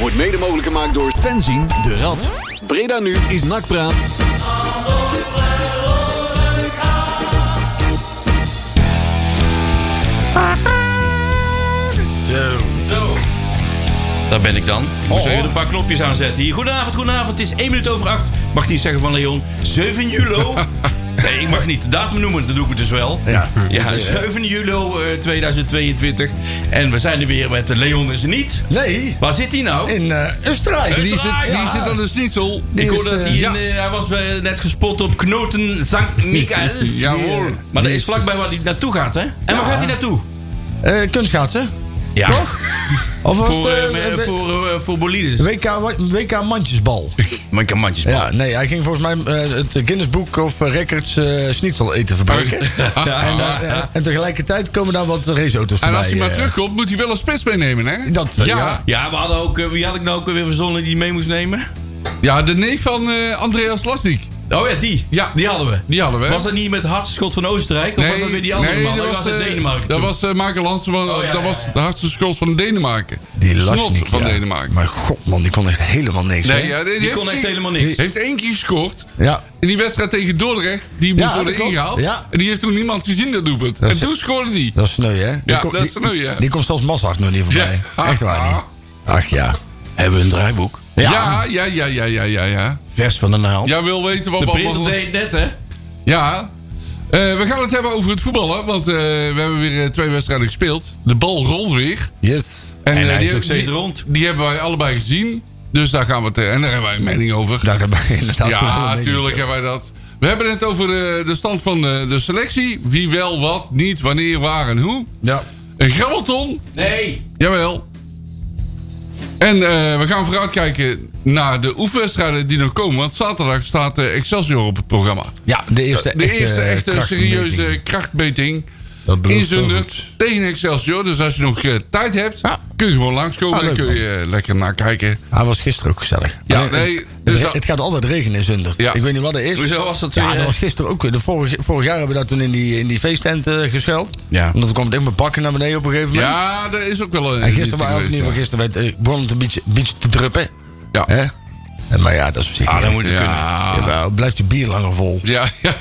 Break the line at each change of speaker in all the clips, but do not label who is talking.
wordt mede mogelijk gemaakt door Fenzing de Rad. Breda nu is Nakpraat.
Zo. Daar ben ik dan. Ik moest
Oh.
even een paar knopjes aanzetten hier. Goedenavond, goedenavond. Het is 1 minuut over 8. Mag ik niet zeggen van Leon. 7 juli. Nee, ik mag niet de datum noemen. Dat doe ik het dus wel.
Ja.
Ja, 7 juli eh, 2022. En we zijn er weer met eh, Leon is er niet.
Nee,
Waar zit hij nou?
in eh Oostenrijk.
Die
Die zit,
Draai,
die
ja.
zit aan de schnitzel.
Die
ik
is,
hoorde dat hij,
eh,
in, eh, hij was bij- net gespot op Knoten Sankt Michael. eh,
Ja hoor.
Maar dat is vlakbij waar hij naartoe gaat, hè? En waar gaat hij naartoe?
Eh, kunstschaatsen.
Ja. Toch?
Of was
Voor,
het,
eh,
eh,
me-
W-
voor, eh, voor bolides.
WK, wa- WK mandjesbal.
eh,
Maar ik kan mandjes
Ja, nee, hij ging volgens mij eh, het Guinness Book of Records eh schnitzel eten verbruiken.
Oh,
En, eh, eh, en tegelijkertijd komen daar wat raceauto's
En
voorbij.
als hij maar
eh.
terugkomt, moet hij wel een spits meenemen, hè?
Dat, eh, ja.
Ja, we hadden ook, eh, wie had ik nou ook weer verzonnen die mee moest nemen?
Ja, de neef van eh, Andreas Lasnik.
Oh ja, die.
Ja.
Die hadden we.
Die hadden we. hè?
Was dat niet met Hartschot van Oostenrijk? Of was dat weer die andere man? Dat was uit
eh,
Denemarken.
Dat
toen.
was eh Michael Hansen, van,
Oh, ja,
dat
ja,
was
ja.
de hardste schuld van Denemarken.
Die
Snot
Lasnik,
van
ja.
Denemarken.
Maar god man, die kon echt helemaal niks.
nee,
hè?
ja, die,
Die
heeft
kon echt
geen-
helemaal niks.
heeft één keer gescoord.
ja.
In die wedstrijd tegen Dordrecht, die moest
Ja, dat
worden
klopt.
ingehaald.
Ja.
En die heeft toen niemand gezien, dat doelpunt. En
is-
toen scoorde die.
Dat is sneu, hè? Die
Ja,
komt-
dat is
die-
sneu, ja.
Die komt zelfs Massag nog niet voorbij.
Ja. Ah.
Echt waar niet. Ach ja.
Hebben we een draaiboek?
Ja, ja, ja, ja, ja, ja. ja.
Vers van de naald.
Jij wil weten wat
de
we
printer
allemaal...
deed het net, hè?
Ja. Eh, we gaan het hebben over het voetballen. Want eh, we hebben weer eh, twee wedstrijden gespeeld. De bal rolt weer.
Yes.
En
eh,
hij
die-
is ook steeds
die-
rond.
Die hebben wij allebei gezien. Dus daar gaan we het... eh, En daar hebben wij een mening over.
Nou, dat ben je inderdaad wel
Ja,
een beetje-
natuurlijk hebben wij dat. We hebben het over eh, de stand van eh, de selectie. Wie wel, wat, niet, wanneer, waar en hoe.
Ja.
Een grabbelton.
Nee.
Jawel. En eh, we gaan vooruitkijken naar de oefenwedstrijden die nog komen. Want zaterdag staat eh, Excelsior op het programma.
ja, de eerste eh,
De, eerste echte
krachtmeting.
serieuze krachtmeting.
Dat belooft
In
wel
Zundert tegen Excelsior. Dus als je nog eh, tijd hebt,
Ja.
kun je gewoon langskomen.
Ah,
en
leuk,
kun je eh, lekker nakijken.
Hij was gisteren ook gezellig.
Ja,
Alleen,
nee,
het,
dus
het-
dat-
het gaat altijd regenen in Zundert.
Ja.
Ik weet niet wat er is.
Hoezo was dat eh? zo?
Ja, dat was gisteren ook weer. De vorige, vorig jaar hebben we dat toen in die, in die feesttent eh, gescheld.
Ja.
Omdat er kwam het echt met bakken naar beneden op een gegeven moment.
Ja, daar is ook wel een.
En gisteren, waren, of in
editie
ieder geval
geweest,
gisteren, werd, eh, begon het een beetje, beetje te druppen.
Ja.
Hè? En, maar ja, dat is op zich
Ah,
niet
dat
erg.
moet het kunnen.
Ja.
Ja, maar blijft je bier langer vol.
Ja, Ah. ja.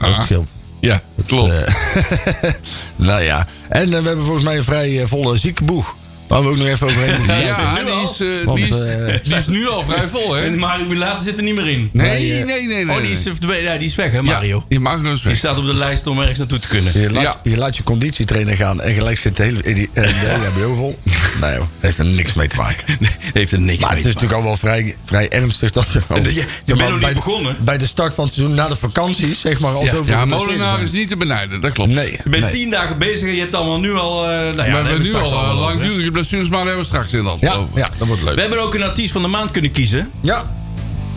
Dat scheelt.
Ja, klopt.
Eh, nou ja. En eh, we hebben volgens mij een vrij eh, volle ziekenboeg. Waar we ook nog even overheen moeten kijken.
ja,
nu al.
die is, eh,
Want,
die, is,
eh,
die is nu al vrij vol, hè?
En
Nee,
Mario Mulata zit er niet meer in.
nee,
eh,
nee, nee.
Oh, die is,
nee.
verdwenen. Ja, die is weg, hè,
Ja,
Mario?
Die mag nog eens
Die
weg.
staat op de lijst om ergens naartoe te kunnen.
Je laat,
Ja.
je laat je conditietrainer gaan en gelijk zit de hele, eh, die- eh, de hele HBO vol. Nee joh, heeft er niks mee te maken.
Heeft er niks
Maar
mee
het is
te maken.
natuurlijk al wel vrij, vrij ernstig dat ze gewoon...
Ja, je bent
zeg maar,
nog niet
bij,
begonnen.
Bij de start van het seizoen, na de vakanties, zeg maar al
Ja.
zoveel...
Ja,
geblesseerden
Molenaar
zijn.
is niet te benijden, dat klopt.
Nee.
Je bent
nee.
tien dagen bezig en je hebt allemaal nu al... eh, nou ja, daar
we
hebben
hebben nu
straks
al eh,
allemaal over, hè.
langdurige blessures, maar daar hebben we straks in Oh, dat.
Ja, ja, dat wordt
We
leuk.
hebben ook een artiest van de maand kunnen kiezen.
Ja,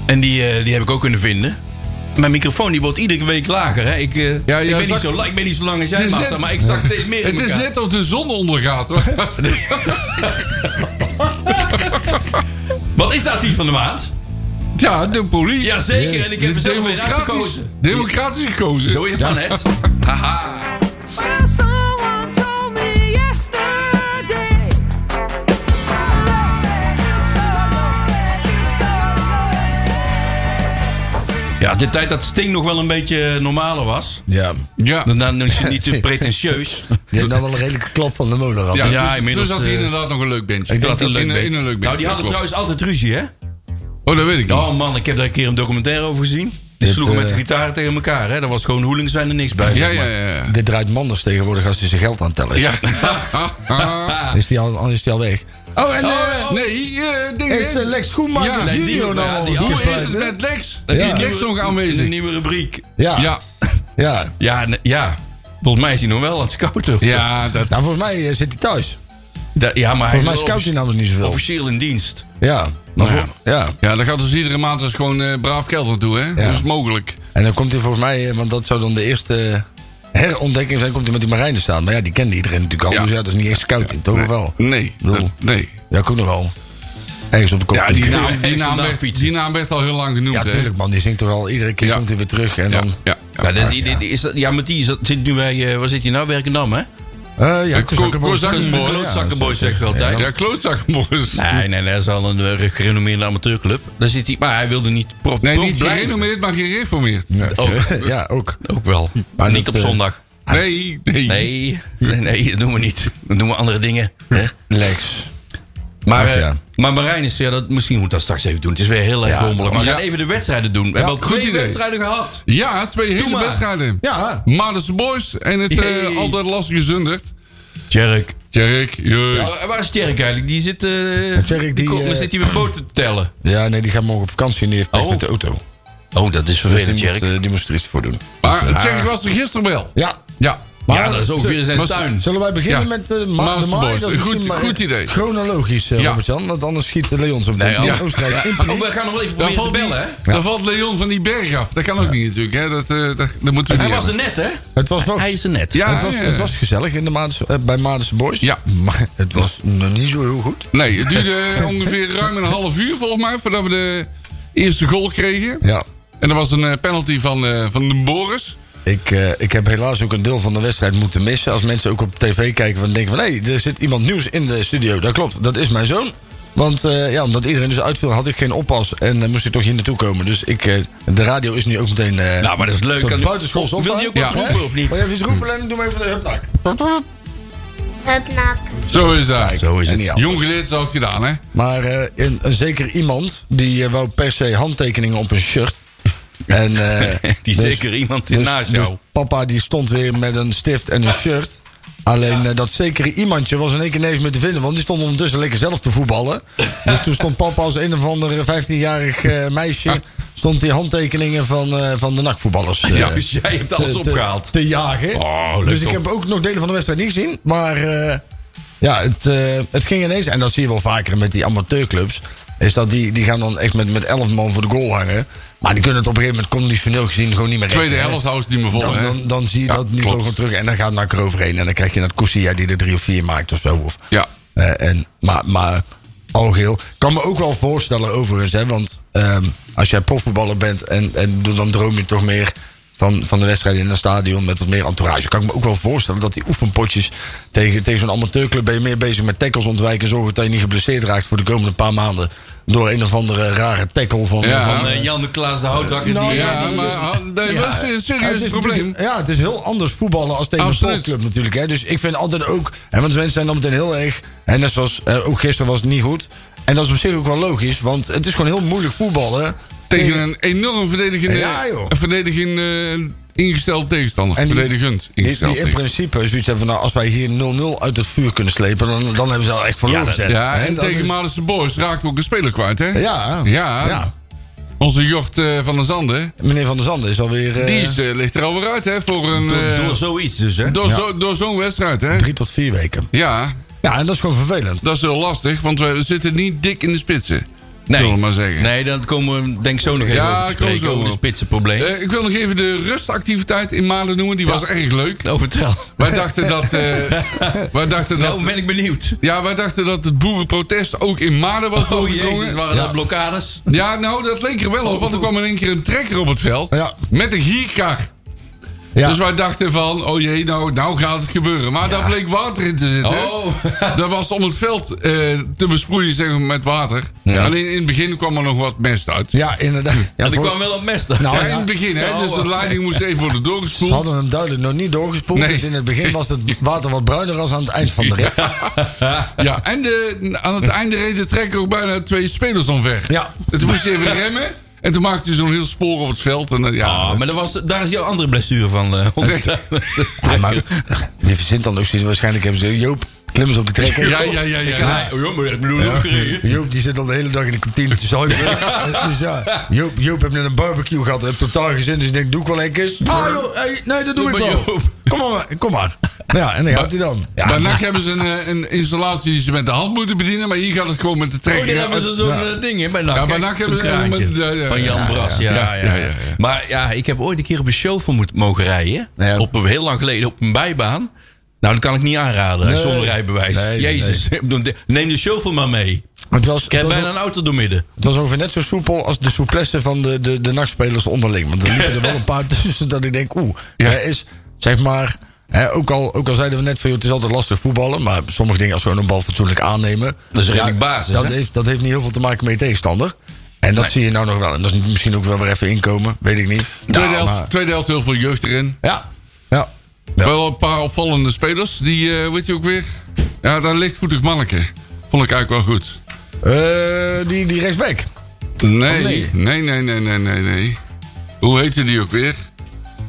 En die, eh, die heb ik ook kunnen vinden. Mijn microfoon die wordt iedere week lager. Hè? Ik, eh,
ja,
ik, ben
zak-
niet zo, la- ik ben niet zo lang als
Het
jij,
is
Marcel,
net-
maar ik zak steeds meer in
Het is
elkaar.
net of de zon ondergaat. hoor.
Wat is de artiest van de maand?
ja, de police.
Jazeker, en ik heb
De
er zelf weer
democratisch,
uitgekozen.
democratisch gekozen.
Zo is het maar net. Haha.
Well, someone told me yesterday.
Ja, de tijd dat Sting nog wel een beetje normaler was.
ja.
Ja.
Dan, dan is je niet te pretentieus.
Je hebt nou wel een redelijke klap van de molen gehad.
Ja,
Ja,
dus,
inmiddels,
dus had hij
eh,
inderdaad nog een leuk bandje.
Ik dacht dat
in,
leuk
in een leuk bandje.
Nou, die hadden
dat klopt.
trouwens altijd ruzie, hè?
Oh, dat weet ik niet.
Oh man, ik heb daar een keer een documentaire over gezien. Die
Dit,
sloegen met de
eh,
gitaar tegen elkaar, hè? Dat was gewoon hoelings zijn er niks bij.
ja,
zeg
ja,
maar.
ja.
Dit draait Manders tegenwoordig als hij zijn geld aan het tellen is.
ja.
Is die al, al is die al weg. Oh, en... eh,
nee, eh, ding,
is eh, Lex Schoenmaker
Ja, nee,
die-
junior
ja,
nou
die
al
Hoe
andere
is
geplukt,
het
hè?
met Lex?
Ja.
Is Lex nog
Een
aanwezig?
nieuwe rubriek.
Ja,
Ja.
ja.
Ja, ne- ja. Volgens mij is hij nog wel aan het scouten. of zo.
Ja, dat...
Nou, volgens mij eh, zit hij thuis.
Da- ja maar hij
Volgens mij
is wel
scout hij namelijk niet zoveel.
officieel in dienst.
Ja. Maar
Nou ja.
voor- ja.
Ja, dat gaat dus iedere maand dus gewoon eh, braaf geld naartoe, hè? Dat is mogelijk.
En dan komt hij volgens mij, eh, want dat zou dan de eerste eh, herontdekking zijn, komt hij met die Marijnen staan. Maar ja, die kende iedereen natuurlijk al,
Ja.
dus ja, dat is niet eens koud in, toch
nee.
of wel?
Nee.
Lul.
dat- nee.
Ja, ik ook nog wel. Ergens op de kop.
Ja, die
Ik-
naam, die,
ik stond
naam
daar
werd,
fietsen.
die naam werd al heel lang genoemd,
Ja,
hè?
tuurlijk man, die zingt toch al, iedere keer
Ja.
komt hij weer terug en
Ja,
dan...
ja, ja.
Ja, die, die, die- is dat, ja maar die is dat- zit nu bij... eh, waar zit hij nou? Werkendam, hè?
Eh, ja,
Eh,
Kozakkenboys.
Kozakkenboys.
Ja,
Klootzakkenboys zeg ik altijd.
Ja, klootzakkenboys.
Nee, nee, nee, dat is al een eh, gerenommeerde amateurclub. Daar zit hij, maar hij wilde niet prof.
Nee,
prof
niet
blijven.
gerenommeerd, maar gereformeerd.
Ook,
eh, Ja, ook.
ook wel. Maar niet
dat,
op
eh,
zondag.
Nee, nee.
Nee, nee, nee, dat doen we niet. Dan doen we andere dingen. Hè?
Lex.
Maar,
Ach,
eh,
ja.
maar Marijn is, ja, dat, misschien moet dat straks even doen. Het is weer heel erg
Ja,
rommelig. Maar
ja.
we gaan even de wedstrijden doen. We hebben al
goed
twee
idee.
wedstrijden gehad.
Ja, twee hele
maar.
wedstrijden.
Ja.
Madense Boys en het eh,
Jee.
altijd lastige Zundert.
Tjerk.
Tjerk, jee.
Oh, Waar is Tjerk eigenlijk? Die zit, eh
Tjerk,
die,
die,
komt-
eh,
zit hier weer boten te tellen.
Ja, nee, die gaat morgen op vakantie en die heeft pech
Oh.
met de auto.
Oh, dat is
Dus die
vervelend,
moet,
Tjerk.
eh, die moest er iets voor doen.
Maar Tjerk was er gisteren wel.
Ja.
Ja.
eh,
ja, dat is ook weer in zijn
maar-
tuin.
Zullen wij beginnen
Ja.
met eh, Ma- de
Master
Maai?
Boys.
Dat is
Een goed-
misschien maar, eh,
goed idee.
Chronologisch, eh,
Ja.
Robert-Jan. Want anders schiet Leon zo meteen
Nee,
in
ja.
Oostenrijk in
Oh,
paniek.
we gaan nog wel even
Daar
proberen te
valt,
bellen,
die-
hè?
daar valt Leon van die berg af. Dat kan ook niet natuurlijk. Hè? Dat, eh, dat, dat moeten we
Hij
niet
was er
hebben.
net, hè?
Het was nog...
Hij is er net.
Ja,
het, was,
ja.
het was gezellig in de Maadse- eh, bij Madense Boys.
Ja.
Maar het was nog niet zo heel goed.
Nee, het duurde ongeveer ruim een half uur volgens mij voordat we de eerste goal kregen.
Ja.
En er was een eh, penalty van, eh, van de Boris.
Ik, eh, ik heb helaas ook een deel van de wedstrijd moeten missen. Als mensen ook op tv kijken van denken van... hé, er zit iemand nieuws in de studio. Dat klopt, dat is mijn zoon. Want eh, ja, omdat iedereen dus uitviel, had ik geen oppas. En eh, moest ik toch hier naartoe komen. Dus ik, eh, de radio is nu ook meteen... eh,
Nou, maar dat is leuk.
Zo'n
Kan-
buitenschols
Wil die ook
opvang.
wat roepen of niet?
Wil je even iets roepen, Lennon? Doe maar even de hupnak.
Hupnak.
Zo is dat.
Zo is
En
het.
niet
Ja.
al.
Jong geleerd is ook gedaan, hè?
Maar eh, een, een zeker iemand, die eh, wou per se handtekeningen op een shirt. En, eh,
Die
dus-
zeker iemand zit
dus-
naast
dus
jou.
papa die stond weer met een stift en een shirt. Alleen eh, dat zekere iemandje was in één keer neven meer te vinden. Want die stond ondertussen lekker zelf te voetballen. dus toen stond papa als een of ander 15-jarig eh, meisje... stond die handtekeningen van, eh, van de nachtvoetballers eh,
Ja, dus jij hebt alles
te- te-
opgehaald.
te jagen.
Oh, leuk
dus ik
toch?
heb ook nog delen van de wedstrijd niet gezien. Maar eh, ja, het, eh, het ging ineens. En dat zie je wel vaker met die amateurclubs. Is dat die, die gaan dan echt met, met 11 man voor de goal hangen. Maar die kunnen het op een gegeven moment conditioneel gezien gewoon niet meer
Tweede
redden, hè.
helft houden ze niet meer vol,
Dan,
hè?
dan, dan zie je
Ja,
dat niveau
klopt.
gewoon terug. En dan gaat NAC eroverheen. En dan krijg je dat Koesia die er drie of vier maakt of zo. Of,
Ja.
eh, en, maar, maar algeheel. Kan me ook wel voorstellen overigens. Hè, want ehm, als jij profvoetballer bent. En, en doe- dan droom je toch meer van, van de wedstrijd in een stadion. Met wat meer entourage. Kan ik me ook wel voorstellen dat die oefenpotjes. Tegen, tegen zo'n amateurclub ben je meer bezig met tackles ontwijken. Zorgen dat je niet geblesseerd raakt voor de komende paar maanden. Door een of andere rare tackle van.
Ja.
van
Van eh, Jan de Klaas de Houthakker.
Nou,
die,
Ja,
die-
maar ah, nee,
Ja.
dat is een
Ja,
serieus
het is
probleem.
natuurlijk- Ja, het is heel anders voetballen als tegen
Absoluut.
een sportclub natuurlijk. Hè. Dus ik vind altijd ook... En want mensen zijn dan meteen heel erg... En net zoals eh, ook gisteren was het niet goed. En dat is op zich ook wel logisch. Want het is gewoon heel moeilijk voetballen.
Tegen een enorm verdedigende,
Ja, joh.
een verdedigende eh, ingesteld tegenstander.
En die-
Verdedigend
Die,
ingesteld
die in
tegenstander.
principe zoiets hebben van... Nou, als wij hier 0-0 uit het vuur kunnen slepen... Dan, dan hebben ze al echt verloren.
dat-
zeg.
Ja,
Hè,
en
dan
tegen
is-
Madense Boys raakt ook een speler kwijt, hè?
Ja.
Ja. Onze Jocht eh, van der Zanden,
Meneer Van der Zanden is alweer... eh,
die is, eh, ligt er alweer uit, hè? Voor een,
door,
eh,
door zoiets dus, hè?
door zo- door zo'n wedstrijd, hè?
Drie tot vier weken.
Ja,
Ja, en dat is gewoon vervelend.
dat is heel lastig, want we zitten niet dik in de spitsen. Zullen we maar zeggen.
Nee, dan komen we denk ik zo nog even
Ja,
over te
ik kom
spreken.
zo
Over de
op.
spitsenprobleem.
Eh, ik wil nog even de rustactiviteit in Maanden noemen, die was erg leuk.
Nou, vertel.
Wij dachten dat. eh, wij dachten dat
Nou ben ik benieuwd.
ja, wij dachten dat het boerenprotest ook in Maarden was
Oh
doorgedrongen.
jezus, waren dat blokkades?
Ja, nou, dat leek er wel op, want er kwam in één keer een trekker op het veld.
Ja.
Met een gierkar.
Ja.
Dus wij dachten van, oh jee, nou, nou gaat het gebeuren. Maar daar bleek water in te zitten.
Oh.
Dat was om het veld eh, te besproeien zeg maar, met water. Alleen in het begin kwam er nog wat mest uit.
Ja, inderdaad. Ja,
Ja, die
voor-
kwam wel op mes dan.
Nou,
Ja,
ja.
in het begin, hè. Dus de leiding moest even worden
Ze
doorgespoeld.
hadden hem duidelijk nog niet doorgespoeld.
Nee.
Dus in het begin was het water wat bruiner als aan het eind van de rit.
Ja, en de, aan het einde reed de trekker ook bijna twee spelers omver.
Ja.
En toen moest hij even remmen. En toen maakte hij zo'n heel spoor op het veld. En, eh, ja,
Ah, maar dat was, daar is jouw andere blessure van eh ontstaan.
Ja, maar je verzint dan ook zoiets. Waarschijnlijk hebben ze Joop klimmen ze op de trekker.
Ja, ja, ja, ja.
Nee, oh, ja, maar ik bedoel, ook gereden.
Joop die zit al de hele dag in de kantine te zuipen. Dus ja, Joop, Joop heeft net een barbecue gehad. Heeft totaal geen zin. Dus ik denk, doe ik wel een keer. Ah joh, hey, nee, dat doe,
Doe
ik
maar,
wel.
Joop.
Kom maar, kom maar. Nou Ja, en dan gaat hij dan. Ja,
Bij NAC hebben ze een, eh, een installatie die ze met de hand moeten bedienen. Maar hier gaat het gewoon met de trekker.
Oh, daar hebben ze zo'n eh, ding in bij NAC.
Ja, bij
hè?
NAC
Zo'n
hebben ze-
kraantje.
met- ja, ja,
Van
ja,
Jan
ja,
Bras, ja. Ja, ja,
ja, ja.
Maar ja, ik heb ooit een keer op een show van moet, mogen rijden.
Ja.
Op een, heel lang geleden op een bijbaan. Nou, dat kan ik niet aanraden hè,
Nee.
zonder rijbewijs.
Nee, nee,
Jezus, neem de chauffeur maar mee.
het, was,
Ik
het,
heb
was,
bijna een auto doormidden.
het was ongeveer net zo soepel als de souplesse van de, de, de nachtspelers onderling. Want er liepen er wel een paar tussen dat ik denk, oeh,
Ja.
er is zeg maar Hè, ook, al, ook al zeiden we net van, joh, het is altijd lastig voetballen. Maar sommige dingen, als we een bal fatsoenlijk aannemen.
Dat is
ja,
redelijk basis,
Dat
hè?
heeft, dat heeft niet heel veel te maken met je tegenstander. En dat zie je nou nog wel. En dat is misschien ook wel weer even inkomen. Weet ik niet.
Tweede,
Nou, maar-
helft, tweede helft heel veel jeugd erin.
Ja. Ja.
Wel een paar opvallende spelers. Die, eh weet je ook weer... Ja, daar ligt voetig manneke. Vond ik eigenlijk wel goed.
Eh, die, die rechtsback.
Nee,
Of Oh, nee?
nee, nee, nee, nee, nee, nee, Hoe heette die ook weer?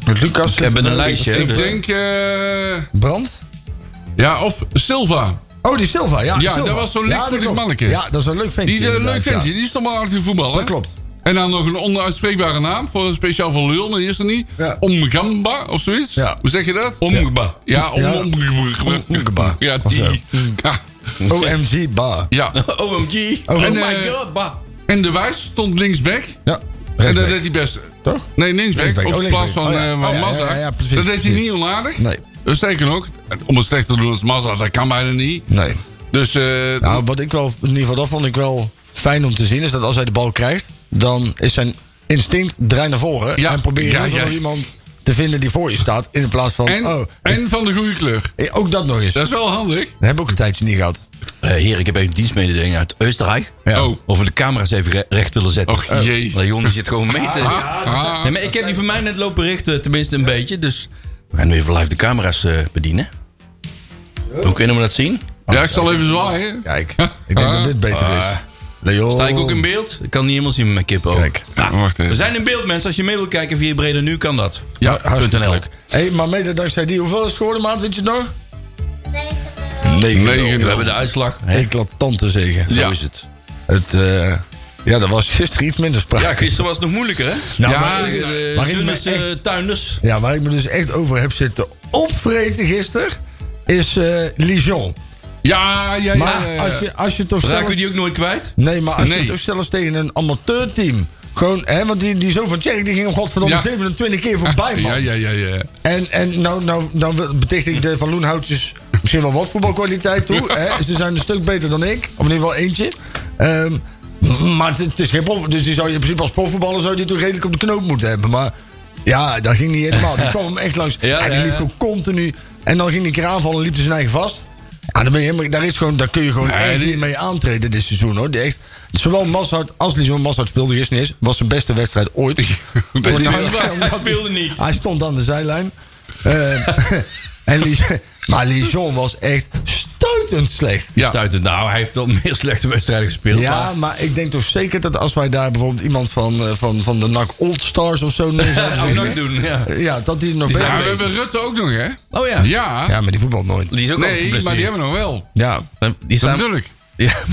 Met Lucas.
Ik heb een lijstje. hè,
ik
dus-
denk... eh,
Brand.
ja, of Silva.
Oh, die Silva. Ja, die
Ja,
Silva.
dat was zo'n lichtvoetig
dat klopt.
manneke.
Ja, dat is een leuk ventje.
Die eh, leuk
inderdaad,
ventje.
ja.
Die is toch maar hard in voetbal, hè?
Dat klopt.
En dan nog een onuitspreekbare naam. Voor, speciaal voor Lul, maar die is er niet.
Ja.
Omgamba of zoiets.
Ja.
Hoe zeg je dat?
Omgba.
Ja, om,
Ja.
Omgamba.
Omgamba.
Ja,
Of zo.
die. Ja.
OMG Bar.
ja.
OMG.
Oh,
Oh,
en,
my
eh,
god. Bah.
En De Wijs stond linksback.
Ja.
En dat
rechtsback.
deed hij best.
Toch?
Nee, linksback.
Linksback,
Of
oh,
in plaats van
linksback. Oh, ja.
eh, van
Oh, ja,
Mazda.
ja, ja, precies,
Dat deed hij
precies.
niet onaardig.
Nee.
Dus sterker nog, om het slecht te doen als Mazda, dat kan bijna niet.
Nee.
Dus eh,
Nou, wat ik wel, in ieder geval, dat vond ik wel fijn om te zien, is dat als hij de bal krijgt, dan is zijn instinct draai naar voren.
Ja.
En probeer je
Ja,
in ieder geval
ja.
iemand te vinden die voor je staat, in plaats van,
en,
oh,
en van de goede kleur.
eh, ook dat nog eens.
Dat
Dat
is wel handig.
heb ik ook een tijdje niet gehad.
Eh, heer, ik heb even dienstmededeling uit Oostenrijk.
Ja. Oh.
Of we de camera's even re- recht willen zetten.
Och, jee.
Nou, jongen, die zit gewoon mee te...
Ah,
Nee, maar ik heb die van mij net lopen richten, tenminste een beetje. Dus we gaan nu even live de camera's eh, bedienen. Hoe kunnen we dat zien?
ah. ja, ik zal even zwaaien.
Kijk, ik denk dat
Ah.
dit beter is. Leon.
Sta ik ook in beeld? Ik kan niet helemaal zien met mijn kip ook.
Kijk.
Nou,
Wacht even.
we zijn in beeld, mensen. Als je mee wil kijken via Breda Nu, kan dat.
Ja,
hartstikke
.nl.
leuk.
hey, maar mede dankzij die, hoeveel is het geworden, maat, weet je het nog?
We
Negen.
hebben de uitslag. Hè?
Eclatante zeggen.
Zo
Ja.
is het.
Het, eh, ja, dat was gisteren iets minder sprake.
Ja, gisteren was het nog moeilijker, hè?
Nou,
Ja,
maar-
eh,
De
maar ik
Zunners,
ben echt-
eh, tuinders.
Ja, waar ik me dus echt over heb zitten opvreten gisteren, is eh Lijon.
Ja, ja, ja.
Maar
ja, ja.
als je, als je toch zelf...
Raken we die ook nooit kwijt?
Nee, maar als je
Nee.
toch zelfs tegen een amateurteam... Gewoon, hè, want die, die zo van Tjerk, die ging om godverdomme
Ja.
27 keer voorbij, man.
Ja, ja, ja, ja.
En, en nou, nou, nou beticht ik de Van Loenhoutjes misschien wel wat voetbalkwaliteit toe. Hè? Ze zijn een stuk beter dan ik. Of in ieder geval eentje. Ehm, maar het, het is geen prof. Dus die zou je in principe als profvoetballer zou je die toch redelijk op de knoop moeten hebben. Maar ja, dat ging niet helemaal. Die kwam hem echt langs.
Ja,
en die
ja,
liep
ja.
gewoon continu. En dan ging die keer aanvallen en liep hij zijn eigen vast. Ja, dan ben je helemaal, daar, is gewoon, daar kun je gewoon
Nee,
echt
die-
niet mee aantreden dit seizoen. Hoor. Die echt, zowel Massard als Lison Massard speelde gisteren eens. Was zijn beste wedstrijd ooit.
Dat is
Nou,
niet waar.
Hij speelde niet.
hij stond aan de zijlijn. Eh, en Lijon- maar Lijon was echt stuitend slecht.
Die
Ja.
stuitend. Nou, hij heeft al meer slechte wedstrijden gespeeld.
Ja,
maar-
maar ik denk toch zeker dat als wij daar bijvoorbeeld iemand van, eh, van, van de NAC Old Stars of zo neer
Oh,
zouden
Ook nooit
zetten,
doen, ja.
eh, Ja, dat die nog
Die
beter
Ja, we
zijn
weet.
hebben Rutte ook nog, hè?
Oh ja.
Ja.
Ja, maar die voetbal nooit.
Die is ook altijd
Nee, maar
geblesseerd.
die hebben we nog wel.
Ja.
Die
Dat
staan...
bedoel ik.
Ja,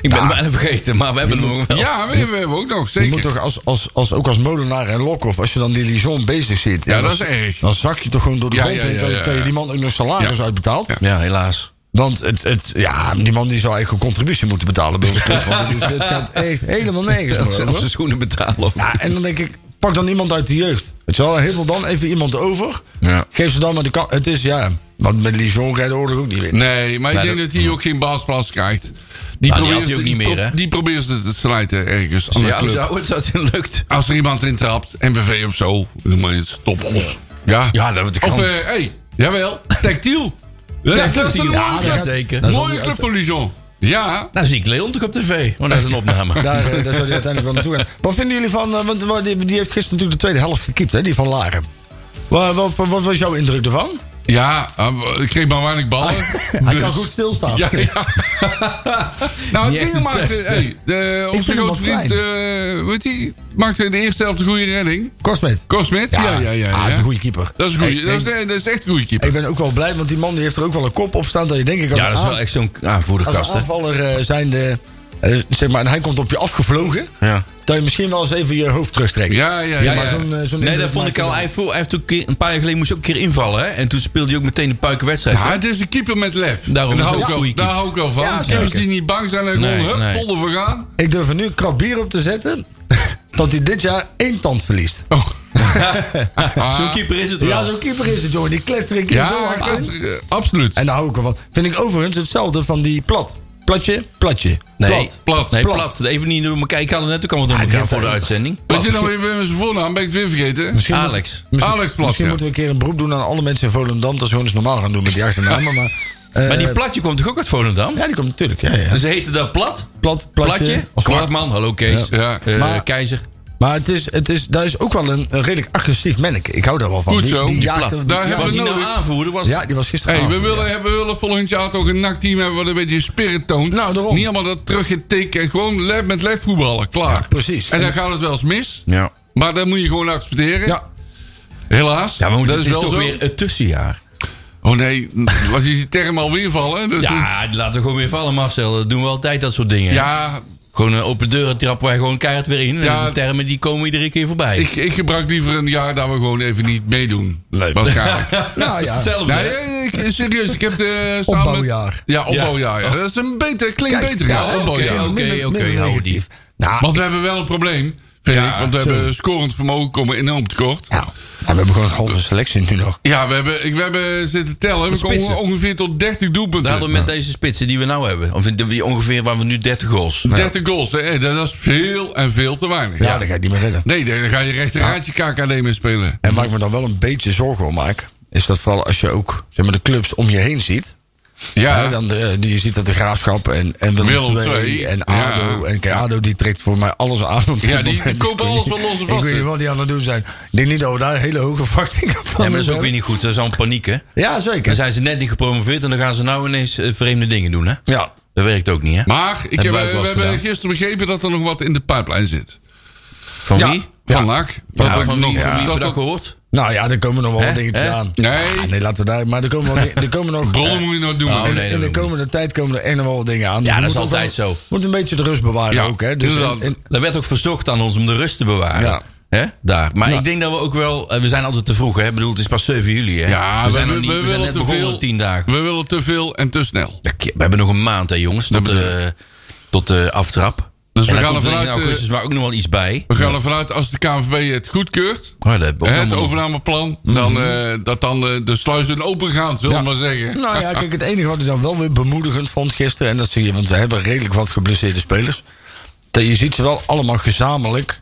ik ben het bijna vergeten, maar we hebben hem nog wel.
Ja, we hebben we ook nog,
Je
zeker.
moet toch als, als, als, ook als molenaar en lokhoff, als je dan die Lijon bezig ziet.
Ja,
en
dat
dan-
is erg.
Dan zak je toch gewoon door de
Ja,
grond
ja,
heen
ja,
dat je-
ja,
dat je
ja.
die man ook nog salaris
Ja.
uitbetaalt.
Ja, helaas.
Want het, het, ja, die man die zou eigenlijk een contributie moeten betalen bij ons club. Want het is- het gaat echt helemaal nergens meer
Zelfs
over.
de schoenen betalen. ook.
Ja, en dan denk ik, pak dan iemand uit de jeugd. Weet je wel, heel veel dan even iemand over.
Ja.
Geef ze dan maar de kans. Het is, ja, want met Lijon ga je de oorlog ook niet winnen.
Nee, maar ik denk
Nee, dat- Nou,
dat hij ook geen baasplaats krijgt. Die
had
probeert
hij ook
die
niet
pro-
meer, hè?
Die probeert ze te slijten ergens. Aan de
Ja,
club.
zou het dat het lukt.
Als er iemand in trapt, MVV of zo, noem maar iets, toppos. Ja.
Ja, dat kan.
Of, hé, hey, jawel, tactiel. Ja, Dat is een
Tactiel, ja,
mooie club.
dat zeker.
Dat is
Mooie
ook-
club voor Lijon. Ja.
Nou zie ik Leon toch op tv. Want dat is een opname.
Daar, eh, daar zou hij uiteindelijk wel naartoe gaan. Wat vinden jullie van, eh, want eh, die, die heeft gisteren natuurlijk de tweede helft gekiept, hè, die van Laren. Wat, wat, wat was jouw indruk ervan?
Ja, eh, ik kreeg maar weinig ballen.
Hij
dus-
kan goed stilstaan.
Ja, ja. nou,
Niet echt
Dingen
een
maakte.
test, hè?
Hey, de, onze
vind hem
grote
wel
vriend, eh weet die, maakte in de eerste helft een goede redding.
Korsmeet.
Kosmet? Ja, ja, ja. ja,
Ah, dat is een goede keeper.
Dat is, een goeie-
Ik
dat is,
denk-
dat is echt een goede keeper.
Ik ben ook wel blij, want die man die heeft er ook wel een kop op staan. Dat je denk ik als
Ja, dat is
een
wel echt zo'n
Als
aanvoerderkast, hè?
aanvaller eh, zijn de. eh, zeg maar, en hij komt op je afgevlogen.
Ja.
Dat je misschien wel eens even je hoofd terugtrekt.
Ja, ja, ja.
maar
ja.
zo'n, eh, zo'n
Nee, dat
indruk
vond ik
maakt
al.
hij
Hij, voel- hij heeft ook een keer- een paar jaar geleden moest hij ook een keer invallen, hè? En toen speelde hij ook meteen een puikenwedstrijd.
Ja,
hè?
het is een keeper met lef.
Daarom
En daar,
is
hou
het
ik
ook
wel,
een goede
daar hou ik wel van.
Ja,
Keepers
zeker.
die niet bang zijn en gewoon
Nee,
hup,
nee.
vol ervoor gaan.
wel. Ik durf er nu een krap bier op te zetten. dat hij dit jaar één tand verliest.
Oh. Ah.
Zo'n keeper is het wel.
Ja, zo'n keeper is het, jongen. Die klest er een keer zo
Ja,
hard
dat
aan.
is- eh, absoluut.
En daar hou ik wel van. Vind ik overigens hetzelfde van die plat. Platje? Platje.
Nee,
Plat.
plat. Nee,
Plat.
plat. Even niet door elkaar. Ik had het net ook allemaal door elkaar voor de uitzending.
Weet je nou Ah, weer weer zijn voornaam? Ben ik het weer vergeten?
Alex.
Alex Plat,
Misschien
ja.
moeten we een keer een beroep doen aan alle mensen in Volendam. Dat ze gewoon eens normaal gaan doen met die achternamen. Maar, eh,
Ah, Maar die platje komt toch ook uit Volendam?
Ja, die komt natuurlijk. Ja, ja.
Ze heten dat plat?
Plat, platje.
Platje?
Of
Kwartman, hallo Kees.
Ja.
Eh,
Maar-
Keizer.
Maar het is, het is, daar is ook wel een, een redelijk agressief manneke. Ik hou daar wel van.
Goed zo, die
jaagt
plat.
hem-
Daar
ja,
hebben
Was
we
die nou
nodig.
aanvoerder? Was
ja, die was
Hey,
gisteren.
we, willen, hebben- we willen volgend jaar toch een nachtteam hebben wat een beetje spirit toont.
Nou, daarom.
Niet allemaal dat teruggetikken en gewoon le- met lef voetballen. Klaar.
Ja, precies.
En dan gaat het wel eens mis.
Ja.
Maar dat moet je gewoon accepteren.
Ja,
Helaas.
Ja, maar goed,
dat
het
is
is
wel
toch
zo.
weer het tussenjaar.
Oh nee, was die term alweer vallen? Dus
Ja, die laten we gewoon weer vallen, Marcel. Dat doen we altijd, dat soort dingen.
ja
Gewoon een open deuren trappen wij gewoon keihard weer in.
Ja.
En de termen die komen iedere keer voorbij.
ik, ik gebruik liever een jaar dat we gewoon even niet meedoen.
Leuk.
Waarschijnlijk.
nou ja.
Hetzelfde.
Nee, ik, serieus, ik heb de samen...
Opbouwjaar.
Ja, opbouwjaar. Ja. Dat is een beter, klinkt
Kijk,
beter,
ja,
ja,
oké,
opbouwjaar.
oké,
Minder-
oké,
minder
hou die.
negatief. Nou,
Want we hebben wel een probleem, vind
Ja,
ik. Want we
zo.
hebben scorend vermogen komen enorm tekort.
nou, we hebben gewoon een halve selectie nu nog.
Ja, we hebben, ik, we hebben zitten tellen. We komen
spitsen.
ongeveer tot 30 doelpunten.
Daardoor met deze spitsen die we nou hebben. Of die- ongeveer waar we nu 30 goals.
30 goals, hè. dat is veel en veel te weinig.
Ja, dat ga ik niet meer redden.
Nee, daar ga je rechteraadje KKD mee spelen.
En waar ik me dan wel een beetje zorgen om maak, is dat vooral als je ook zeg maar, de clubs om je heen ziet. Hè,
Ja,
dan de, die- je ziet dat de Graafschap en, en Willem
Willem
II
II,
en
ja.
ADO. En kijk, ADO die trekt voor mij alles aan. Op dit
Ja, die
moment.
kopen
Ik
alles
weet
wel los en
niet-
vast,
Ik weet niet
hè.
wat die aan het doen zijn. Ik denk niet dat we daar hele hoge verwachtingen van
Ja, maar dat is ook
hebben.
weer niet goed. Dat is al paniek, hè?
Ja,
Dan
zeker.
zijn ze net niet gepromoveerd en dan gaan ze nou ineens eh, vreemde dingen doen, hè?
Ja.
Dat werkt ook niet, hè?
maar ik heb, eh,
Hebben wij ook
we
wel eens
hebben
gedaan.
gisteren begrepen dat er nog wat in de pipeline zit.
Van
Ja.
wie?
Van NAC. Dat
Ja,
er
van
nog-
wie? Van
dat
wie heb je dat
er-
gehoord?
Nou ja, daar komen nog wel wat dingetjes
Hè?
aan.
Nee.
Ja, nee, laten we daar. Maar er komen, wel, er komen nog. Eh,
Bronnen moet je nou doen.
Oh,
man.
nee. dat
in de
doen we
komende tijd komen er echt nog wel wat dingen aan. Dus
Ja,
we
dat is
moeten ook
altijd
wel-
zo.
Moet een beetje de rust bewaren
Ja,
ook. Hè? Dus
inderdaad.
in- in-
Er werd ook verzocht aan ons om de rust te bewaren.
Ja.
Hè? Daar. Maar
Ja.
ik denk dat we ook wel... eh, We zijn altijd te vroeg, hè? Ik bedoel, het is pas 7 juli, hè?
Ja,
we zijn, nog niet, we zijn
willen
net
te
begonnen
veel-
op 10 dagen.
We willen te veel en te snel.
Ja, We hebben nog een maand, hè, jongens, tot, de, tot de aftrap.
Dus we
en dan
gaan
komt er
ervan
in
uit, eh,
augustus maar nou ook nog wel iets bij.
We gaan ervan uit, als de KNVB het goedkeurt,
Oh, dat hebben we ook
hè, het
allemaal nog.
overnameplan, dan, eh, dat dan eh, de sluizen open gaan, zullen we maar zeggen.
Nou ja, kijk, het enige wat ik dan wel weer bemoedigend vond gisteren... en dat zie je, want we hebben redelijk wat geblesseerde spelers... dat je ziet ze wel allemaal gezamenlijk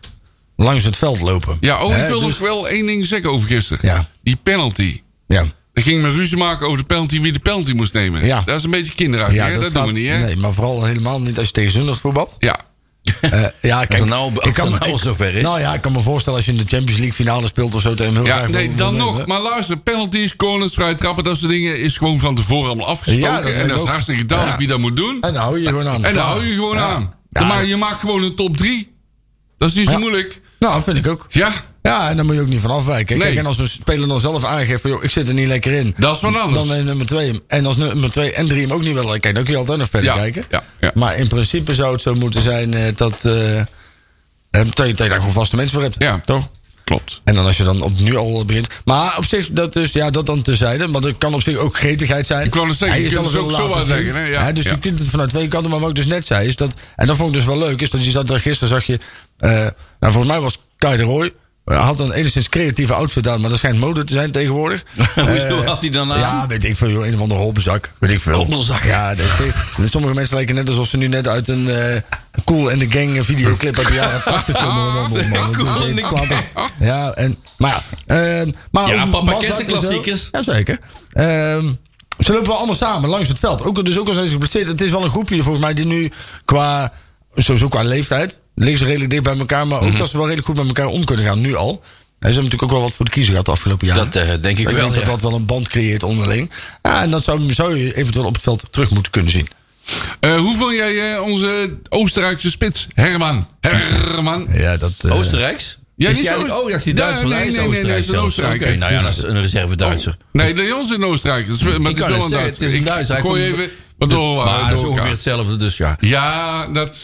langs het veld lopen.
Ja, oh, ik
Hè,
wil
dus-
nog wel één ding zeggen over gisteren.
Ja.
Die penalty.
dus- Ja,
Er ging me ruzie maken over de penalty, wie de penalty moest nemen.
Ja.
Dat is een beetje kinderachtig,
ja
hè? dat,
staat-
doen we niet, hè?
Nee, maar vooral helemaal niet als je tegen Zundert voetbalt.
Ja.
Eh, ja, kijk,
het nou- als het
me-
nou zover is.
Nou ja, ik kan me voorstellen als je in de Champions League finale speelt of eh, zo... tegen heel
ja
graag
nee,
wil-
dan
wil-
nog. Maar luister, penalties, corners, vrij trappen, dat soort dingen is gewoon van tevoren allemaal afgesproken.
Ja, dat
en
vind
dat
ik
is
ook.
hartstikke duidelijk
Ja.
wie dat moet doen.
En dan hou je je gewoon aan.
En dan hou je gewoon
Ja.
aan.
Ja.
Maar je maakt gewoon een top 3. Dat is niet zo
Ja.
moeilijk.
Nou, dat vind ik ook.
Ja,
Ja, en daar moet je ook niet van afwijken.
Nee.
Kijk, en als een speler dan zelf aangeeft van... joh, ik zit er niet lekker in...
dat is wat anders.
Dan neemt nummer 2 hem. En als nummer 2 en 3 hem ook niet willen kijken, dan kun je altijd nog verder
Ja,
kijken.
ja, ja.
Maar in principe zou het zo moeten zijn eh, dat, eh, eh, dat je dat je daar gewoon vaste mensen voor hebt.
Ja.
Toch?
Klopt.
En dan als je dan op nu al begint. Maar op zich, dat, dus, ja, dat dan tezijde. Maar dat kan op zich ook gretigheid zijn.
Ik wou net zeggen,
Hij
je
is
kunt
zelf
het ook
wel
zo
laten
uitleggen,
zien.
hè? Ja,
Hè, dus
ja.
je kunt het vanuit twee kanten. Maar wat ik dus net zei, is dat... En dat vond ik dus wel leuk, is dat je zat daar gisteren, zag je... eh, nou, volgens mij was Kai de Roy... eh, Had een enigszins creatieve outfit aan, maar dat schijnt mode te zijn tegenwoordig.
Hoezo
Eh,
had hij dan aan?
Ja, weet ik veel, joh, een of andere holpenzak. Weet ik veel.
Holpenzak.
Ja, dat is het. sommige mensen lijken net alsof ze nu net uit een eh, Cool and the Gang eh, videoclip uit de jaren 80 komen. Man, man, man.
Cool
Dat is
and the
echt slappe- Ja, en, maar ja. ehm, maar
Ja,
ook
papa
Mazda
kent de
en zo.
klassiekers.
Jazeker. Ehm, ze lopen wel allemaal samen langs het veld. Ook, dus ook al zijn ze geblesseerd. Het is wel een groepje volgens mij die nu qua, sowieso qua leeftijd... liggen ze redelijk dicht bij elkaar. Maar ook
Mhm.
dat ze wel redelijk goed met elkaar om kunnen gaan, nu al. En ze hebben natuurlijk ook wel wat voor de kiezer gehad de afgelopen jaren.
Dat eh, denk ik
Ik
wel,
denk dat
ja.
dat wel een band creëert onderling. Ja, en dat zou, zou je eventueel op het veld terug moeten kunnen zien.
Eh, hoe vond jij eh, onze Oostenrijkse spits, Herman? Herman.
Ja, dat, eh,
Oostenrijks?
Ja,
is
niet
die
zo-
eigenlijk- Oh, dat is die
Ja,
Duits, maar
nee,
hij is
nee, nee, nee,
Oostenrijks
is een
zelfs. Oké,
Oostenrijker.
nou ja, dat is een reserve-Duitser.
Nee, Leon is in Oostenrijk. Dat is, maar het
Ik
is
kan
wel
het
een
zeggen,
Duits.
het is een Duits.
Ik
Hij
gooi
komt-
even wat door, eh,
Maar
door
dat is ongeveer
elkaar.
hetzelfde, dus ja.
oh, Ja, dat,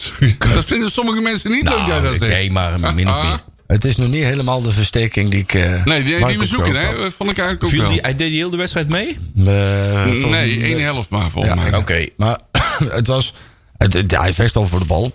dat vinden sommige mensen niet leuk dat Ah, je dat
Nou,
zegt.
nee, maar min of meer.
Het is nog niet helemaal de versterking die ik. eh,
Nee, die,
waar
die
ik
we
op
zoeken,
gehoopt
hè?
had.
Dat vond ik eigenlijk ook
Viel
wel.
die, hij deed die heel de wedstrijd mee?
Eh, volgens-
nee, één helft maar volgens mij.
Oké.
Maar het was. Het, het- ja, hij vecht al voor de bal.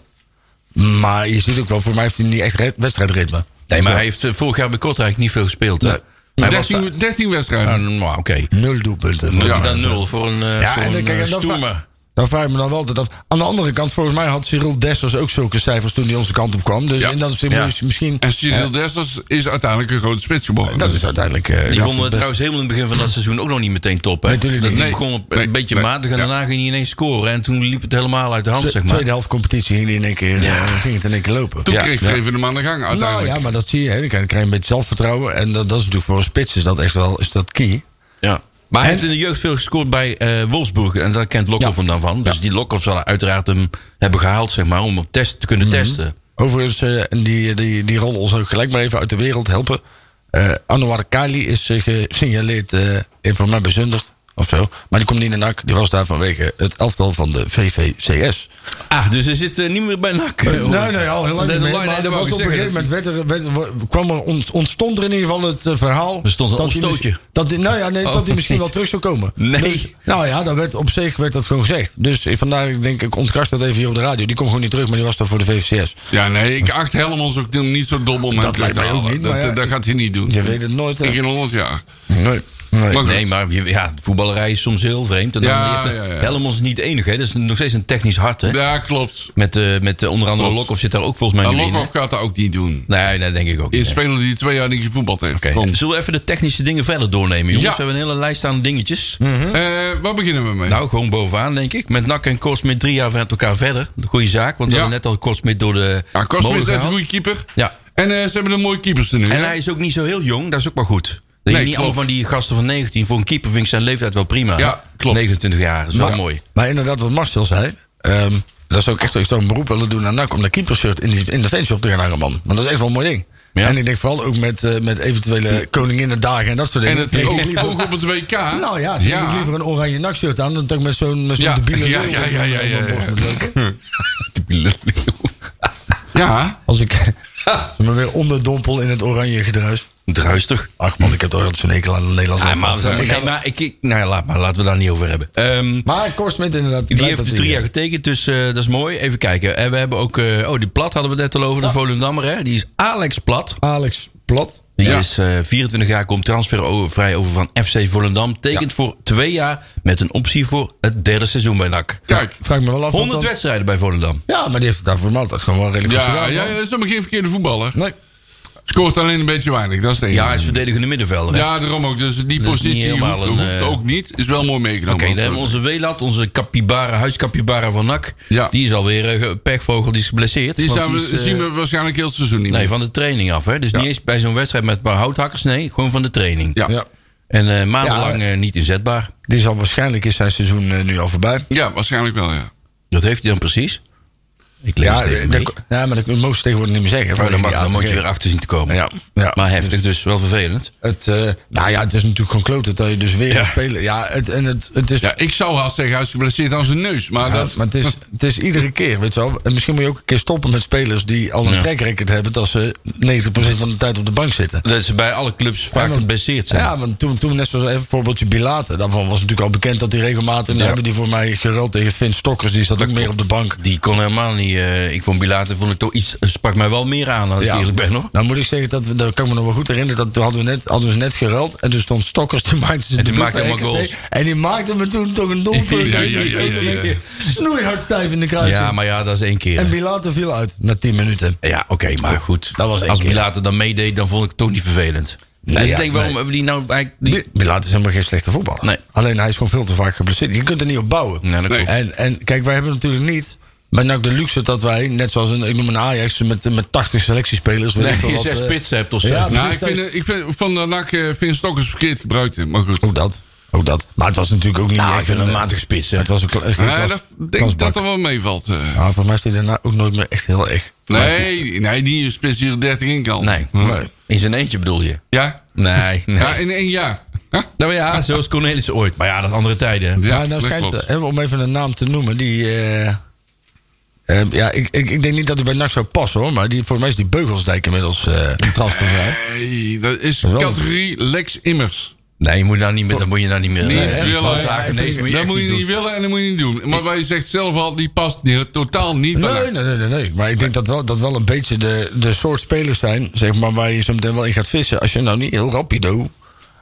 Maar je ziet ook wel, voor mij heeft hij niet echt re- wedstrijdritme.
Nee, maar hij heeft eh, vorig jaar bij Kortrijk niet veel gespeeld. Hè?
Nee.
Hij was
13, 13 wedstrijden.
daar- Ah, nou, Oké.
Nul doelpunten.
Nul- Dan nul voor een, eh, voor
en dan-
een
kijk,
eh,
en dat
stoemer.
vraag- Dan vraag ik me dan wel altijd af. Aan de andere kant, volgens mij had Cyril Dessers ook zulke cijfers toen hij onze kant op kwam. Dus
Ja.
en dan is
Ja.
misschien.
En Cyril Dessers is uiteindelijk een grote spits geworden. Dus
Dat is uiteindelijk. eh,
Die
ja,
vonden we
best-
trouwens helemaal in het begin van dat seizoen ook nog niet meteen top. Hè?
Nee, natuurlijk niet.
Die
Nee.
begon op-
Nee.
een beetje
Nee.
matig en
Ja.
daarna ging hij ineens scoren. En toen liep het helemaal uit de hand,
De
zeg maar.
tweede helft competitie ging, die in één keer,
Ja.
eh, ging het in één keer lopen.
Toen
Ja.
kreeg
Ja.
Greven hem aan de gang
Nou
uiteindelijk.
ja, maar dat zie je. Hè. Dan krijg je een beetje zelfvertrouwen. En dat, dat is natuurlijk voor een spits is dat echt wel is dat key.
Ja. Maar hij
En-
heeft in de jeugd veel gescoord bij eh, Wolfsburg. En daar kent Lokhoff
Ja.
hem dan van. Dus die Lokhoff zal uiteraard hem hebben gehaald, zeg maar, om op test te kunnen testen.
Overigens, eh, en die, die, die rollen ons ook gelijk maar even uit de wereld helpen. Eh Anwar Kali is eh, gesignaleerd, eh heeft voor mij bezundigd of zo. Maar die komt niet in de NAC. Die was daar vanwege het elftal van de VVCS.
Ah, dus hij zit eh, niet meer bij NAC. hoor. Dat is een line-up, wou
er was
ik
op
zeggen.
een gegeven moment werd er, werd, kwam er ont- ontstond er in ieder geval het eh, verhaal.
Er stond een
dat hij
opstootje.
misschien- Dat die, nou ja, nee,
Oh,
dat hij misschien
niet.
wel terug zou komen.
Nee.
Dus, nou ja, dat werd, op zich werd dat gewoon gezegd. Dus eh, vandaar, ik denk, ik ontkracht dat even hier op de radio. Die komt gewoon niet terug, maar die was daar voor de VVCS.
Ja, nee, ik acht Helmons ook niet zo dom om hem
Dat
terug
lijkt
te
mij ook
halen.
niet,
dat,
maar ja,
dat gaat hij niet doen.
Je weet het nooit. hè?
Ik in 100 jaar.
Nee. nee.
Maar goed.
Nee, maar je- ja, de voetballerij is soms heel vreemd. En dan
Ja,
je hebt de-
ja, ja.
Helmond is niet de enige. Hè. Dat is nog steeds een technisch hart. Hè.
Ja, klopt.
Met, eh, met eh, onder andere
Klopt.
Lokhoff zit daar ook volgens mij
En
nu in. hè.
Lokhoff gaat dat ook niet doen.
Nee, dat denk ik ook
Een
niet. hè.
speler die twee jaar niet gevoetbald heeft.
Oké,
Kom.
Zullen we even de technische dingen verder doornemen, jongens?
Ja.
We hebben een hele lijst aan dingetjes.
Mhm.
Eh, waar beginnen we mee?
Nou, gewoon bovenaan, denk ik. Met NAC en Korsmit drie jaar met elkaar verder. De goede zaak, want we
Ja.
hebben net al Korsmit door de
ja, Cosme
molen
is echt een
gehaald.
goede keeper.
Ja.
En eh, ze hebben een mooie keepers er nu.
En
hè?
hij is ook niet zo heel jong, dat is ook maar goed. Dat je niet
klopt.
allemaal van die gasten van 19. Voor een keeper vind ik zijn leeftijd wel prima.
Ja, klopt.
29 jaar, dat is wel
Maar-
mooi.
Maar inderdaad, wat Marcel zei. ehm, dat zou ik echt ik zou een beroep willen doen aan NAC om dat keepershirt in, die, in de fanshop te gaan hangen, man. Want dat is echt wel een mooi ding.
Ja.
En ik denk vooral ook met, eh, met eventuele koninginnendagen en dat soort
En
dingen.
het
Ik
ook,
denk liever-
ook op het WK.
nou ja, dan
ja.
heb ik liever een oranje NAC-shirt aan dan dat ik met zo'n met zo'n
Ja,
debiele
ja,
lul
ja, ja, ja,
op mijn
ja,
borst
ja.
moet lopen.
Ja.
Als ik als ik me weer onderdompel in het oranje gedruis.
Druistig.
Ach man, ik heb toch altijd zo'n ekel aan de Nederlandse
Ah,
elftal.
maar,
Ik
nee,
ga-
maar ik, ik- nou ja, laat maar, laten we daar niet over hebben. Ehm,
Maar Korsmit inderdaad.
die
blijft
heeft
dat
drie
hij-
jaar getekend, dus eh, dat is mooi. Even kijken. En we hebben ook, eh, oh die Plat hadden we net al over, de Volendammer. Hè? Die is Alex Plat.
Alex Plat.
Die
Ja.
is eh, 24 jaar, komt transfervrij over van FC Volendam. Tekent voor twee jaar met een optie voor het derde seizoen bij NAC.
Kijk.
Vraag me wel af. wat
100
dan-
wedstrijden bij Volendam.
Ja, maar die heeft het daar voor mij altijd gewoon wel redelijk goed
Ja,
gedaan.
ja,
man.
ja, is helemaal geen verkeerde voetballer.
Nee.
Scoort alleen een beetje weinig, dat is het enige.
Ja, hij is verdedigende middenvelder. hè? Oké,
Ja, daarom ook. Dus die
is niet
positie
helemaal
hoeft,
een,
hoeft
eh,
ook niet. Is wel mooi meegenomen.
dan hebben we onze Welat, onze capybara, huiscapybara van NAC.
Ja.
Die is alweer eh, pechvogel, die is geblesseerd.
Die
want
zijn we,
die is, eh,
zien we waarschijnlijk heel het seizoen niet
Nee,
meer.
van de training af. Hè? Dus niet eens bij zo'n wedstrijd met een paar houthakkers. Nee, gewoon van de training.
Ja.
Ja.
Ja.
En eh, maandenlang eh, niet inzetbaar.
Die zal waarschijnlijk is zijn seizoen eh, nu al voorbij.
waarschijnlijk wel, ja.
Dat heeft hij dan precies. Ik lees
Ja, eh,
het even
dat-
mee.
ja, maar dat mogen ze tegenwoordig niet meer zeggen.
Oh, dan, mag,
Ja,
dan moet je
oké.
weer achter zien te komen.
Ja, ja.
Maar heftig, dus wel vervelend.
Het, eh, nou ja, het is natuurlijk gewoon kloten dat je dus weer
Ja.
gaat spelen. Ja, het, en het, het is...
Ja, ik zou haast zeggen, hij is geblesseerd aan zijn neus. Maar
ja,
dat...
maar het is, het is iedere keer, weet je wel. En misschien moet je ook een keer stoppen met spelers die al een
Ja.
track record hebben... dat ze 90% van de tijd op de bank zitten.
Dat ze bij alle clubs vaak
want-
geblesseerd zijn.
Ja, want toen, toen net zoals even een voorbeeldje Bilate. Daarvan was natuurlijk al bekend dat hij regelmatig... en dan hebben die voor mij gereld tegen Finn Stokkers. Die zat ook meer op de bank.
Die kon helemaal niet. eh, ik vond Bilater vond ik toch iets. sprak mij wel meer aan als ik eerlijk ben hoor.
Nou moet ik zeggen, dat, we, dat kan ik me nog wel goed herinneren. Dat toen hadden we net, hadden we ze net geruild. En toen stond Stokkers, die maakte ze
En
de
die
boek
maakte
bij
allemaal
RKC.
goals.
En die maakte me toen toch een doelpunt.
Ja, ja, ja, ja, ja.
Snoeihard stijf in de kruis.
Ja, maar ja, dat is één keer.
En Bilater viel uit na 10 minuten.
ja, oké, maar goed.
Dat was één
als
keer.
Bilater dan meedeed, dan vond ik het toch niet vervelend. dus
ja,
ik denk, waarom hebben die nou eigenlijk. Die...
Bi- Bilater is helemaal geen slechte voetballer.
Nee.
Alleen hij is gewoon veel te vaak geblesseerd. Je kunt er niet op bouwen.
Nee, dat
Nee.
klopt.
En, en kijk, wij hebben natuurlijk niet... Bij NAC de luxe dat wij, net zoals een, ik noem een Ajax met, met 80 selectiespelers... weet
Nee,
ik veel
je
wat,
zes
eh,
spitsen hebt of zo.
Ja,
nou, ik
precies,
vind,
dat
eh, ik vind van de NAC eh, vind Stokkers verkeerd gebruikt. hè. Maar goed.
Ook dat, ook dat. Maar het was natuurlijk ook niet
Nou,
echt
ik vind een
eh,
matige spits. hè.
Het was een kla- geen
Ja,
klas-
dat denk ik
klasbak.
dat er wel meevalt. eh.
Ja, voor mij is hij daarna ook nooit meer echt heel erg.
Nee, nee, niet een spits die er 30 in kan.
Nee.
Hm.
In zijn eentje bedoel je?
Ja?
Nee. nee.
Ja, in één jaar. Huh?
nou ja, zoals Cornelis ooit. Maar ja, dat andere tijden. hè.
Ja,
maar nou
dat
schijnt,
klopt.
eh, om even een naam te noemen, die... eh, eh, ja, ik, ik, ik denk niet dat hij bij NAC zou passen hoor, maar die, voor mij is die Beugelsdijk inmiddels eh transfervrij.
Nee, dat is
wel-
categorie Lex Immers.
Nee, je moet daar niet meer. Dat moet je daar niet meer.
Niet
Nee, hè, die
willen,
fouthaken,
hè.
nee, dat moet je
dat
echt
moet je
niet
niet
doen.
willen en dat moet je niet doen. Maar wat je zegt zelf al, die past niet, totaal niet bij
Nee,
NAC.
nee, nee, nee, nee. Maar ik denk dat wel, dat wel een beetje de, de soort spelers zijn, zeg maar, waar je zo meteen wel in gaat vissen. Als je nou niet heel rapido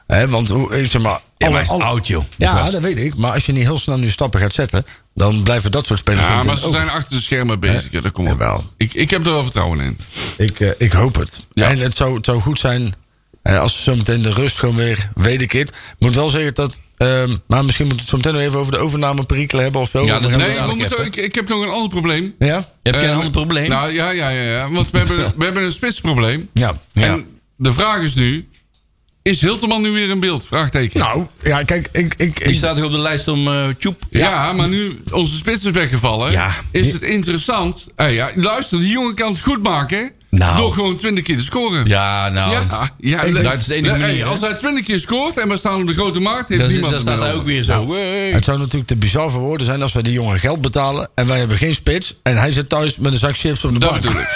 Hè, want hoe, eh, zeg maar,
Ja, maar hij
alle-
is
alle-
oud, joh. die
Ja,
gast.
dat weet ik. Maar als je niet heel snel nu stappen gaat zetten, dan blijven dat soort spelers.
Ja,
gewoon
maar
ten
ze
over.
zijn achter de schermen bezig. Ja, dat komt op.
Jawel.
Ik, ik heb er wel vertrouwen in.
Ik, eh, ik hoop het.
Ja.
En het zou, het zou goed zijn eh, als ze zometeen de rust gewoon weer wederkeert. Ik moet wel zeggen dat. ehm, maar misschien moeten we het zometeen nog even over de overname perikelen hebben of zo.
Ja, dat-
Dan gaan we-
Nee, we
dadelijk
moeten,
even.
ik, ik heb nog een ander probleem.
ja?
Heb jij een
Eh,
ander probleem?
Nou ja, ja, ja, ja. Want we hebben, we hebben een spitsprobleem.
Ja.
Ja.
En de vraag is nu: is Hilterman nu weer in beeld? Vraagteken.
Nou, ja, kijk, ik. ik, ik
Die staat toch op de lijst om eh Tjoep.
ja, maar nu onze spits is weggevallen,
Ja.
is het interessant. Eh, ja, luister, die jongen kan het goed maken
Nou.
door gewoon 20 keer te scoren.
Ja, nou.
Ja, Oh. ja,
Ik-
le-
dat is de enige
le- hey,
manier, hè?
als hij 20 keer scoort en we staan op de grote markt, heeft
Dan, zit-
niemand
dan
er
staat
meer
hij
over.
ook weer zo.
Het zou natuurlijk te bizar voor woorden zijn als wij die jongen geld betalen. en wij hebben geen spits. en hij zit thuis met een zak chips op de
Dat
bank.
bedoel ik.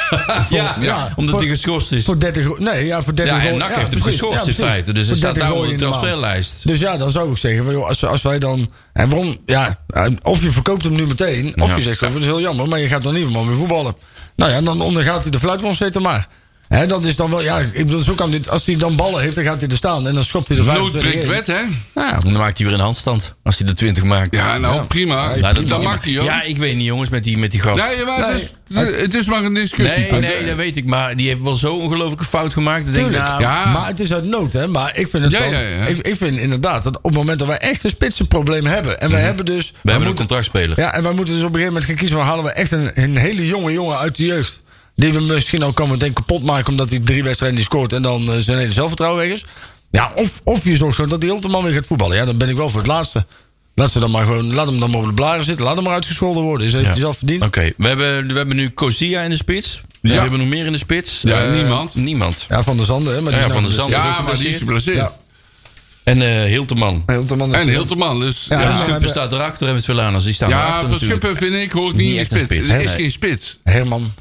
Ja,
ja,
omdat
voor-
hij geschorst is.
Voor 30 go- Nee, ja, voor 30
Ja, en
goal-
NAC heeft hem
precies.
geschorst in
precies.
feite. Dus hij
Voor
staat
30
daar op
goal
de
in maand.
transferlijst.
Dus ja, dan zou ik zeggen, van, joh, als, als wij dan... En waarom, ja, eh, of je verkoopt hem nu meteen, of
Ja.
je zegt, van, het is heel jammer, maar je gaat dan niet meer weer voetballen. Nou ja, dan ondergaat hij de fluitwond steeds dan maar. Hè, dat is dan wel, ja, ik bedoel, zo kan dit, als hij dan ballen heeft, dan gaat hij er staan en dan schopt hij de 25
Noodbreekt
in.
wet, hè?
Ja,
En dan maakt hij weer een handstand. Als hij de 20 maakt.
Ja, nou prima.
Ja,
dat, mag hij ook.
Ja, ik weet niet, jongens, met die, met die gast.
nee, maar het, is, het is maar een discussie.
Nee, nee, dat weet ik. Maar die heeft wel zo ongelooflijke fout gemaakt. Dat denk ik,
Tuurlijk.
nou,
Ja.
Maar het is uit nood, hè? Maar ik vind het
Ja,
dan-
ja, ja.
Ik, ik vind inderdaad dat op het moment dat wij echt een spitsenprobleem hebben. En wij
Mhm.
hebben dus.
we
wij
hebben een
moeten-
contractspeler.
Ja, en wij moeten dus op een gegeven moment gaan kiezen van halen we echt een, een hele jonge jongen uit de jeugd. Die we misschien ook kan meteen kapot maken omdat hij drie wedstrijden niet scoort en dan eh, zijn hele zelfvertrouwen weg is. Ja, of, of je zorgt gewoon dat die Hilterman weer gaat voetballen. Ja, dan ben ik wel voor het laatste. Laat, ze dan maar gewoon, laat hem dan maar op de blaren zitten. Laat hem maar uitgescholden worden. Is heeft
Ja.
hij zelf verdiend?
Oké, we, hebben, we hebben nu Cosia in de spits. We
Ja.
hebben nog meer in de spits.
Ja,
Eh,
niemand.
Niemand.
Ja, van de Zanden. Hè, maar die
Ja,
is
Van
nou
der
dus-
Zanden. is ook
Ja, maar die is geblesseerd.
Ja.
En eh Hilteman.
Hilterman is-
En Hilterman, dus... Ja,
Ja,
Ja,
ja,
maar-
Schuppen staat erachter en Svelaners. Die staan erachter
Van
natuurlijk.
Schuppen vind ik hoort niet,
Niet
in
echt een
spits.
spits,
Het is
hè?
geen spits.
dus- Herman.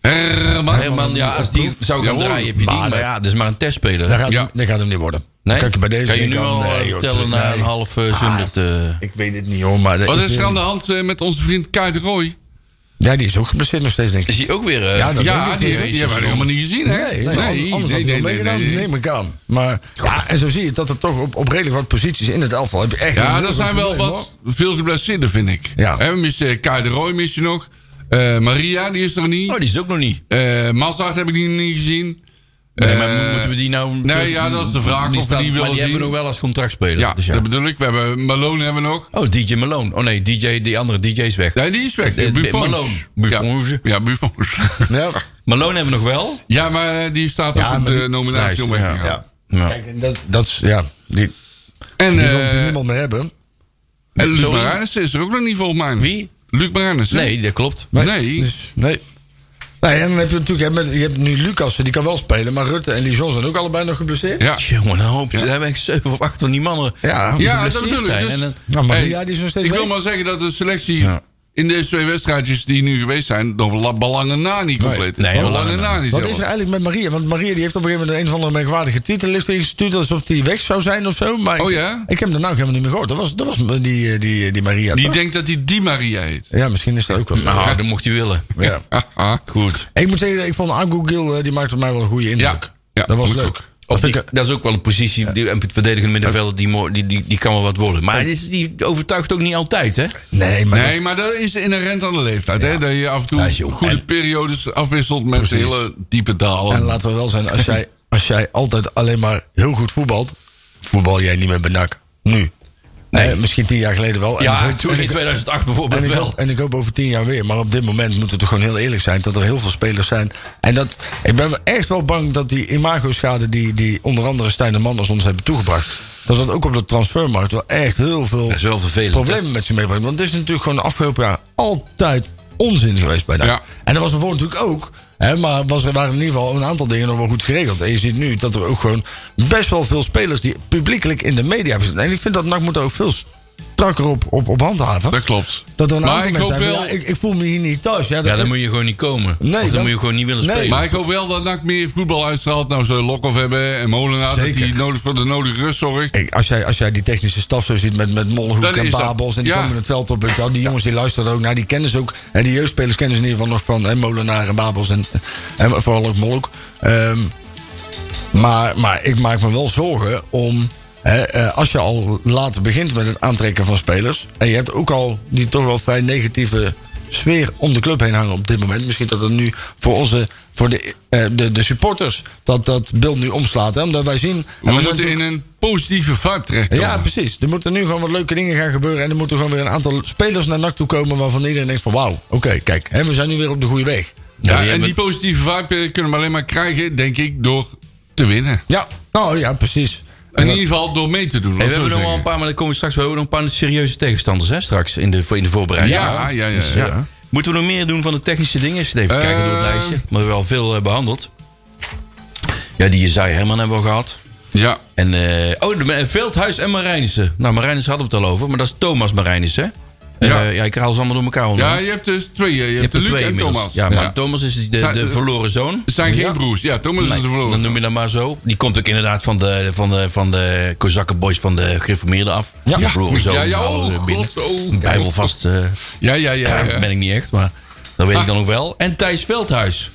Herman.
Herman, ja, als die zou gaan
Ja,
draaien heb je
maar-
die. Maar ja, dat is maar een
Dat
testspeler.
gaat,
Ja.
hem, dat gaat hem niet worden.
Nee?
Kijk, bij deze
kan je
denk
nu
ik
al
nee,
eh,
joh,
vertellen
tuurlijk,
na
nee.
een half eh,
Ah.
zundert... eh,
Ik weet het niet hoor, maar... dat
Wat is er
weer-
aan de hand eh, met onze vriend Kai de Roy?
Ja, die is ook geblesseerd nog steeds, denk ik.
is hij ook weer... eh,
Ja, dat
Ja, die,
Jezus,
die hebben we helemaal niet gezien, hè?
Nee, nee, anders had hij wel meegedaan, neem ik aan. Maar, ja, en zo zie je dat er toch op, op redelijk wat posities in het elftal... Heb je echt
Ja,
een
er zijn wel
probleem,
wat veel geblesseerden, vind ik.
Ja.
Hè, We missen Kai de Roy, mis je nog. Eh, Maria, die is er niet.
Oh, die is ook nog niet.
Eh Mazart heb ik die niet gezien.
Nee,
Eh,
maar mo- moeten we die nou...
nee, ja, dat is de vraag of we die
maar
willen
die hebben
zien.
we nog wel als contractspeler.
Ja,
dus ja.
dat bedoel ik. We hebben Malone hebben we nog.
Oh, DJ Malone. Oh nee, DJ, die andere DJ is weg.
Nee, die is weg.
Eh,
Buffons.
Malone. Buffons.
Ja, ja Buffons.
hoor. Ja,
Malone hebben we nog wel.
ja, maar eh, die staat
Ja,
op
maar
de
die-
nominatie om weg te
Lijst,
gaan.
ja.
Ja.
Kijk, en dat, dat is... Ja, die,
En,
die
eh,
wil je niemand meer hebben.
en Luc
Sorry?
Marijnis is er ook nog niet volgens mij.
Wie?
Luc Marijnis. hè?
Nee, dat klopt.
Nee.
Dus, nee. Nee, en dan heb je natuurlijk... Je hebt, met- je hebt nu Lucas, die kan wel spelen. Maar Rutte en Lijon zijn ook allebei nog geblesseerd.
Ja.
Jongen, nou hoop. Daar ben ik zeven of acht van die mannen.
Ja,
Ja, dat
geblesseerd
bedoel ik.
zijn
Dus,
en dan-
Ja, Nou, maar die- ja, die is nog steeds
ik wil
weg.
maar zeggen dat de selectie
Ja.
in deze twee wedstrijdjes die nu geweest zijn, nog belangen na niet compleet.
Nee,
Belangen
belangen na.
na niet
Wat
zelfs.
is er eigenlijk met Maria? Want Maria die heeft op een gegeven moment een of andere merkwaardige tweet ingestuurd. Alsof die weg zou zijn of zo. Maar
Oh
ik-
ja?
Ik heb hem daarna ook helemaal niet meer gehoord. Dat was, dat was die, die, eh, die, die Maria.
Die
toch?
denkt dat hij die Maria heet.
Ja, misschien is dat ook wel. zo.
Nou, dat mocht je willen.
Ja.
Ah,
Haha. Goed.
Ik moet zeggen, ik vond Ango Gil, eh, die maakte op mij wel een goede indruk.
Ja. Ja,
dat was
moet ik
leuk.
ook.
Of
Dat
die,
vind ik-
dat is ook wel een positie. Die, en het verdedigende middenvelder, die, mo- die, die, die kan wel wat worden. Maar het is, die overtuigt ook niet altijd, hè?
nee, maar
Nee, maar dat is inherent aan de leeftijd. Hè? Dat je af en toe
Hij is jong.
goede
En-
periodes afwisselt met hele diepe
dat-
dalen.
en laten we wel zijn, als jij, als jij altijd alleen maar heel goed voetbalt, voetbal jij niet meer benak. Nu.
Nee.
Eh, misschien tien jaar geleden wel. En ik
Ja,
hoop-
toen
en
in
ik-
2008 bijvoorbeeld
En ik,
wel.
hoop, en ik hoop over tien jaar weer. Maar op dit moment moeten we toch gewoon heel eerlijk zijn... dat er heel veel spelers zijn. En dat, ik ben wel echt wel bang dat die imago-schade... Die, die onder andere Stijn de Man als ons hebben toegebracht... dat dat ook op de transfermarkt wel echt heel veel
Dat is wel vervelend. hè?
problemen met zich meebrengt. Want het is natuurlijk gewoon de afgelopen jaar altijd onzin geweest bij NAC.
Ja.
En dat was ervoor natuurlijk ook. Hè, maar was er waren in ieder geval een aantal dingen nog wel goed geregeld. En je ziet nu dat er ook gewoon best wel veel spelers... die publiekelijk in de media hebben zitten. En ik vind dat NAC moet er ook veel strakker op, op, op handhaven.
Dat klopt.
Dat er een
Maar
aantal
ik
mensen
hoop
zijn
wel-
van, ja, ik, ik voel me hier niet thuis. Ja, dat
Ja, dan moet je gewoon niet komen.
Nee,
of dan,
dan-
moet je gewoon niet willen
Nee.
spelen.
Maar ik hoop wel dat NAC meer voetbal uitstraalt. Nou, ze Lokhoff hebben en Molenaar. Dat
Zeker.
die nodig voor de nodige rust zorgt.
Ik- als, jij, als jij die technische staf zo ziet met, met Molhoek
Dan
en
is dat-
Babels... en die
ja.
komen het veld op, weet je wel, die jongens die luisteren ook naar... die kennen ze ook, en die jeugdspelers kennen ze in ieder geval nog van... Hè, Molenaar en Babels en, en vooral ook Molhoek. Ehm, maar, maar ik maak me wel zorgen om... Hè, eh, als je al later begint met het aantrekken van spelers. en je hebt ook al die toch wel vrij negatieve sfeer om de club heen hangen op dit moment. Misschien dat het nu voor onze. voor de, eh, de, de supporters. dat dat beeld nu omslaat. Hè? Omdat wij zien. en wij
We
zijn
moeten in een positieve vibe terechtkomen.
ja, precies. Er moeten nu gewoon wat leuke dingen gaan gebeuren. En er moeten gewoon weer een aantal spelers naar NAC toe komen... waarvan iedereen denkt van wauw, oké, kijk. Hè, we zijn nu weer op de goede weg.
Ja,
Ja,
en
maar-
die positieve vibe eh, kunnen we alleen maar krijgen, denk ik, door te winnen.
Ja. Oh ja, precies.
In ieder geval door mee te doen.
Hey,
laat
we
ik
hebben
zo
nog wel een
zeggen.
paar, maar dan komen we straks. We hebben nog een paar serieuze tegenstanders hè, straks in de, voor- in de voorbereiding.
Ja, ja, ja.
dus,
ja,
ja.
Moeten we nog meer doen van de technische dingen? Eens Even
Eh.
kijken door het lijstje. Maar we hebben al veel eh, behandeld. Ja, die Jezaja Herman hebben we al gehad.
Ja.
En, eh, oh, de- en Veldhuis en Marijnissen. Nou, Marijnissen hadden we het al over, maar dat is Thomas Marijnissen. hè?
Ja.
Eh, ja, ik haal ze allemaal door elkaar onder.
Ja, je hebt dus twee. Je,
je
hebt de
er
Luc en
inmiddels.
Thomas.
Ja, maar Thomas is de,
Zijn-
de verloren zoon.
Het zijn geen broers. Ja, Thomas is
Nee,
de
dan
verloren.
noem je dat maar zo. Die komt ook inderdaad van de, van de, van de Kozakkenboys van de Gereformeerden af.
Ja.
Die verloren zoon.
Ja, ja,
halen we
oh,
binnen.
God, oh.
Een Bijbelvast eh,
Ja, ja, ja. Ja,
ben
ja.
ik niet echt, maar dat weet
Ah.
ik dan ook wel. En Thijs Veldhuis.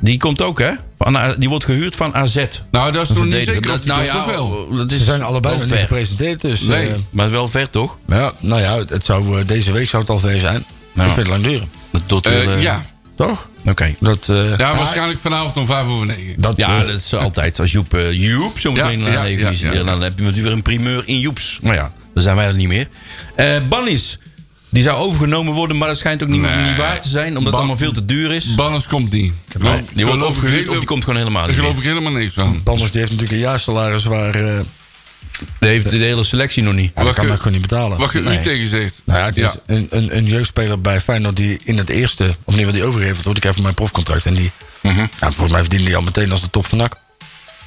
Die komt ook, hè? Van, eh, die wordt gehuurd van AZ.
nou, dat is nog niet
Verdediger.
zeker. Dat, nou, ja, wel.
oh, dat is
Ze zijn allebei nog
wel
niet
ver.
gepresenteerd, dus...
Nee.
eh,
Maar wel ver, toch?
ja, nou ja, het, het zou, eh, deze week zou het al ver zijn. Ik vind het lang duren.
Tot
Eh,
wel, eh,
ja.
Toch?
Oké.
Dat, eh,
ja, waarschijnlijk vanavond om vijf over negen.
dat,
Ja,
eh,
dat is altijd. Als Joep, eh, Joep zo meteen
Ja,
na
ja,
negen
ja,
uur is
ja,
weer,
ja.
dan heb je natuurlijk weer een primeur in Joeps. Maar ja, dan zijn wij er niet meer. Eh Bannis, die zou overgenomen worden, maar dat schijnt ook niet,
Nee.
niet waar te zijn, omdat het
Ban-
allemaal veel te duur is.
Banners komt niet.
Nee, die
Geloof
wordt of
ik
gehuurd
helemaal-
of die komt gewoon helemaal
Daar
niet meer.
geloof ik helemaal niks van.
Banners die heeft natuurlijk een jaarsalaris waar... eh ja,
Die heeft de hele selectie nog niet.
dat kan
je-
NAC gewoon niet betalen.
Wat je u
Nee.
tegen zegt.
Nou ja, het
ja.
is Een, een, een jeugdspeler bij Feyenoord die in het eerste... of in ieder geval die overgeheveld wordt, ik heb mijn profcontract. En die, ja, volgens mij verdiende die al meteen als de top van NAC.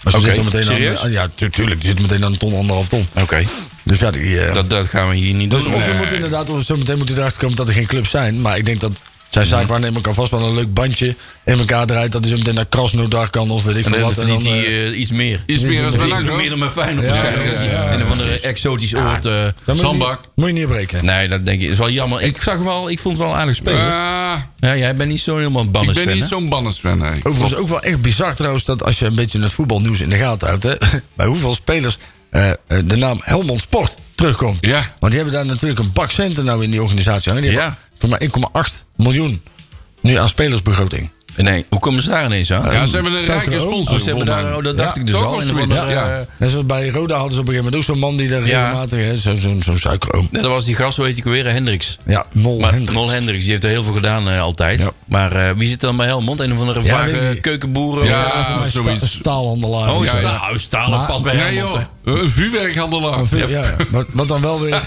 Maar ze
Mhm. Oké,
zit al meteen
serieus?
Aan, eh, ja, tu- tuurlijk. Die zit meteen aan een ton, anderhalf ton.
Oké,
Dus ja, die, eh,
dat, dat gaan we hier niet
dus
doen.
of je
Nee.
moet inderdaad, of zo meteen moet hij erachter komen dat er geen clubs zijn. Maar ik denk dat zijn
Mhm.
zaakwaarnemer kan vast wel een leuk bandje in elkaar draait. Dat hij zo meteen naar Krasnodar kan of weet ik
En
veel
dan
wat. En
verdient
dan,
hij
eh,
eh, iets meer.
Iets meer als bij
Dan verdient hij nog
NAC, hoor.
meer dan mijn Feyenoord waarschijnlijk.
ja,
als hij In een van de exotische oord... eh,
dan moet je
Zandbak.
niet- Moet je niet op rekenen.
nee, dat denk ik. is wel jammer. Ik, zag wel, ik vond het wel een aardig spelen.
Ah,
ja, jij bent niet zo helemaal een
ik
Bannis
ben
fan,
niet
hè?
zo'n bannersfan. nee.
Overigens ook wel echt bizar trouwens dat als je een beetje het voetbalnieuws in de gaten houdt, hè, bij hoeveel spelers eh, eh, de naam Helmond Sport terugkomt.
Ja.
Want die hebben daar natuurlijk een bak centen nou in die organisatie. hangen. Die
Ja.
hebben Voor mij 1,8 miljoen nu aan spelersbegroting.
Nee, hoe komen ze daar ineens aan?
Ja, ze hebben een
Zou ik
rijke
er ook?
sponsor.
Oh, ze hebben
volgens
daar,
mij.
oh, dat dacht
Ja,
ik dus
toch
al.
of
En dan
zoiets,
wordt er,
ja.
eh,
Net zoals bij Roda hadden ze op een gegeven moment ook zo'n man die daar
Ja.
regelmatig, hè, zo- zo'n zo'n suikeroom.
nee, dat was die gast, hoe heet ik weer, Hendricks.
Ja, Mol
Maar
Hendricks.
Nol Hendricks, die heeft er heel veel gedaan eh, altijd.
Ja.
Maar eh, wie zit dan bij Helmond? Een of andere
Ja,
vage
weet ik niet.
keukenboeren?
Ja,
Of-
Een sta-
zoiets.
een staalhandelaar.
oh,
ja,
staal,
ja.
oh, Stalen
Maar-
past bij
Nee
Helmond.
joh, een vuurwerkhandelaar.
Ja, wat, wat dan wel weer...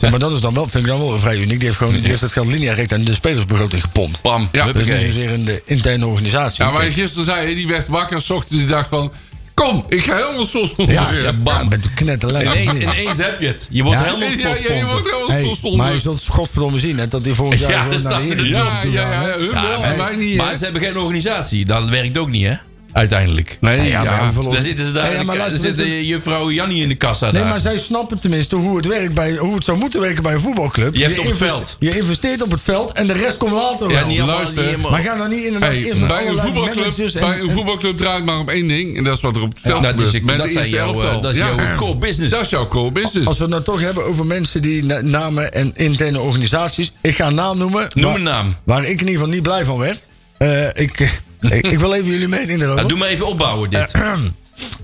Zeg, maar dat is dan wel, vind ik dan wel vrij uniek. Die heeft, gewoon, die heeft het geld linea rect aan de spelersbegroting gepompt.
hè. Pam,
Ja.
Dus niet
huppakee.
zozeer in de interne organisatie.
Ja, waar je gisteren zei, die werd wakker, s ochtends, die dacht van... Kom, ik ga helemaal sponsoren.
ja,
ja,
ja,
bam.
bam. Bent u knetterlijn.
dus Ineens, ineens heb je het. Je wordt
Ja.
Helmond
Ja, ja, je wordt
spotsponsor.
helemaal
Hey,
sponsoren.
maar je zult het godverdomme zien hè, dat hij volgend jaar
dus. Ja,
gewoon
dat
naar de
staat in de
Eredivisie
ja, ja,
toe gaat,
ja,
hè.
ja, hun wel
maar-
en wij niet. eh, hè.
Maar ze hebben geen organisatie. Dat werkt ook niet, hè? Uiteindelijk.
nee, ja,
Ja, maar hoeveel-
Daar zitten ze daar.
Ja, ja, maar
daar
luister,
zit eh, juffrouw Jannie in de kassa
Nee,
daar.
maar zij snappen tenminste hoe het, werkt bij, hoe het zou moeten werken bij een voetbalclub.
Je hebt op het
investe-
veld.
Je investeert op het veld en de rest komt later
ja,
wel.
niet allemaal.
luister.
niet helemaal-
Maar ga nou niet inderdaad
Hey,
eerst met
bij, een
allerlei
voetbalclub,
managers en-
bij een
en-
voetbalclub draait maar om één ding. En dat is wat er op het veld
dat is-
gebeurt. met
dat
de
zijn
eerste
jouw, eh,
elftal.
dat is
Ja.
jouw core business.
Dat is jouw core business.
Als we het nou toch hebben over mensen die na- namen en interne organisaties. Ik ga een naam noemen.
Noem
waar-
een naam.
Waar ik in ieder geval niet blij van werd. Eh, ik, ik, ik wil even jullie mening erover. Eh,
Nou, doe maar even opbouwen, dit.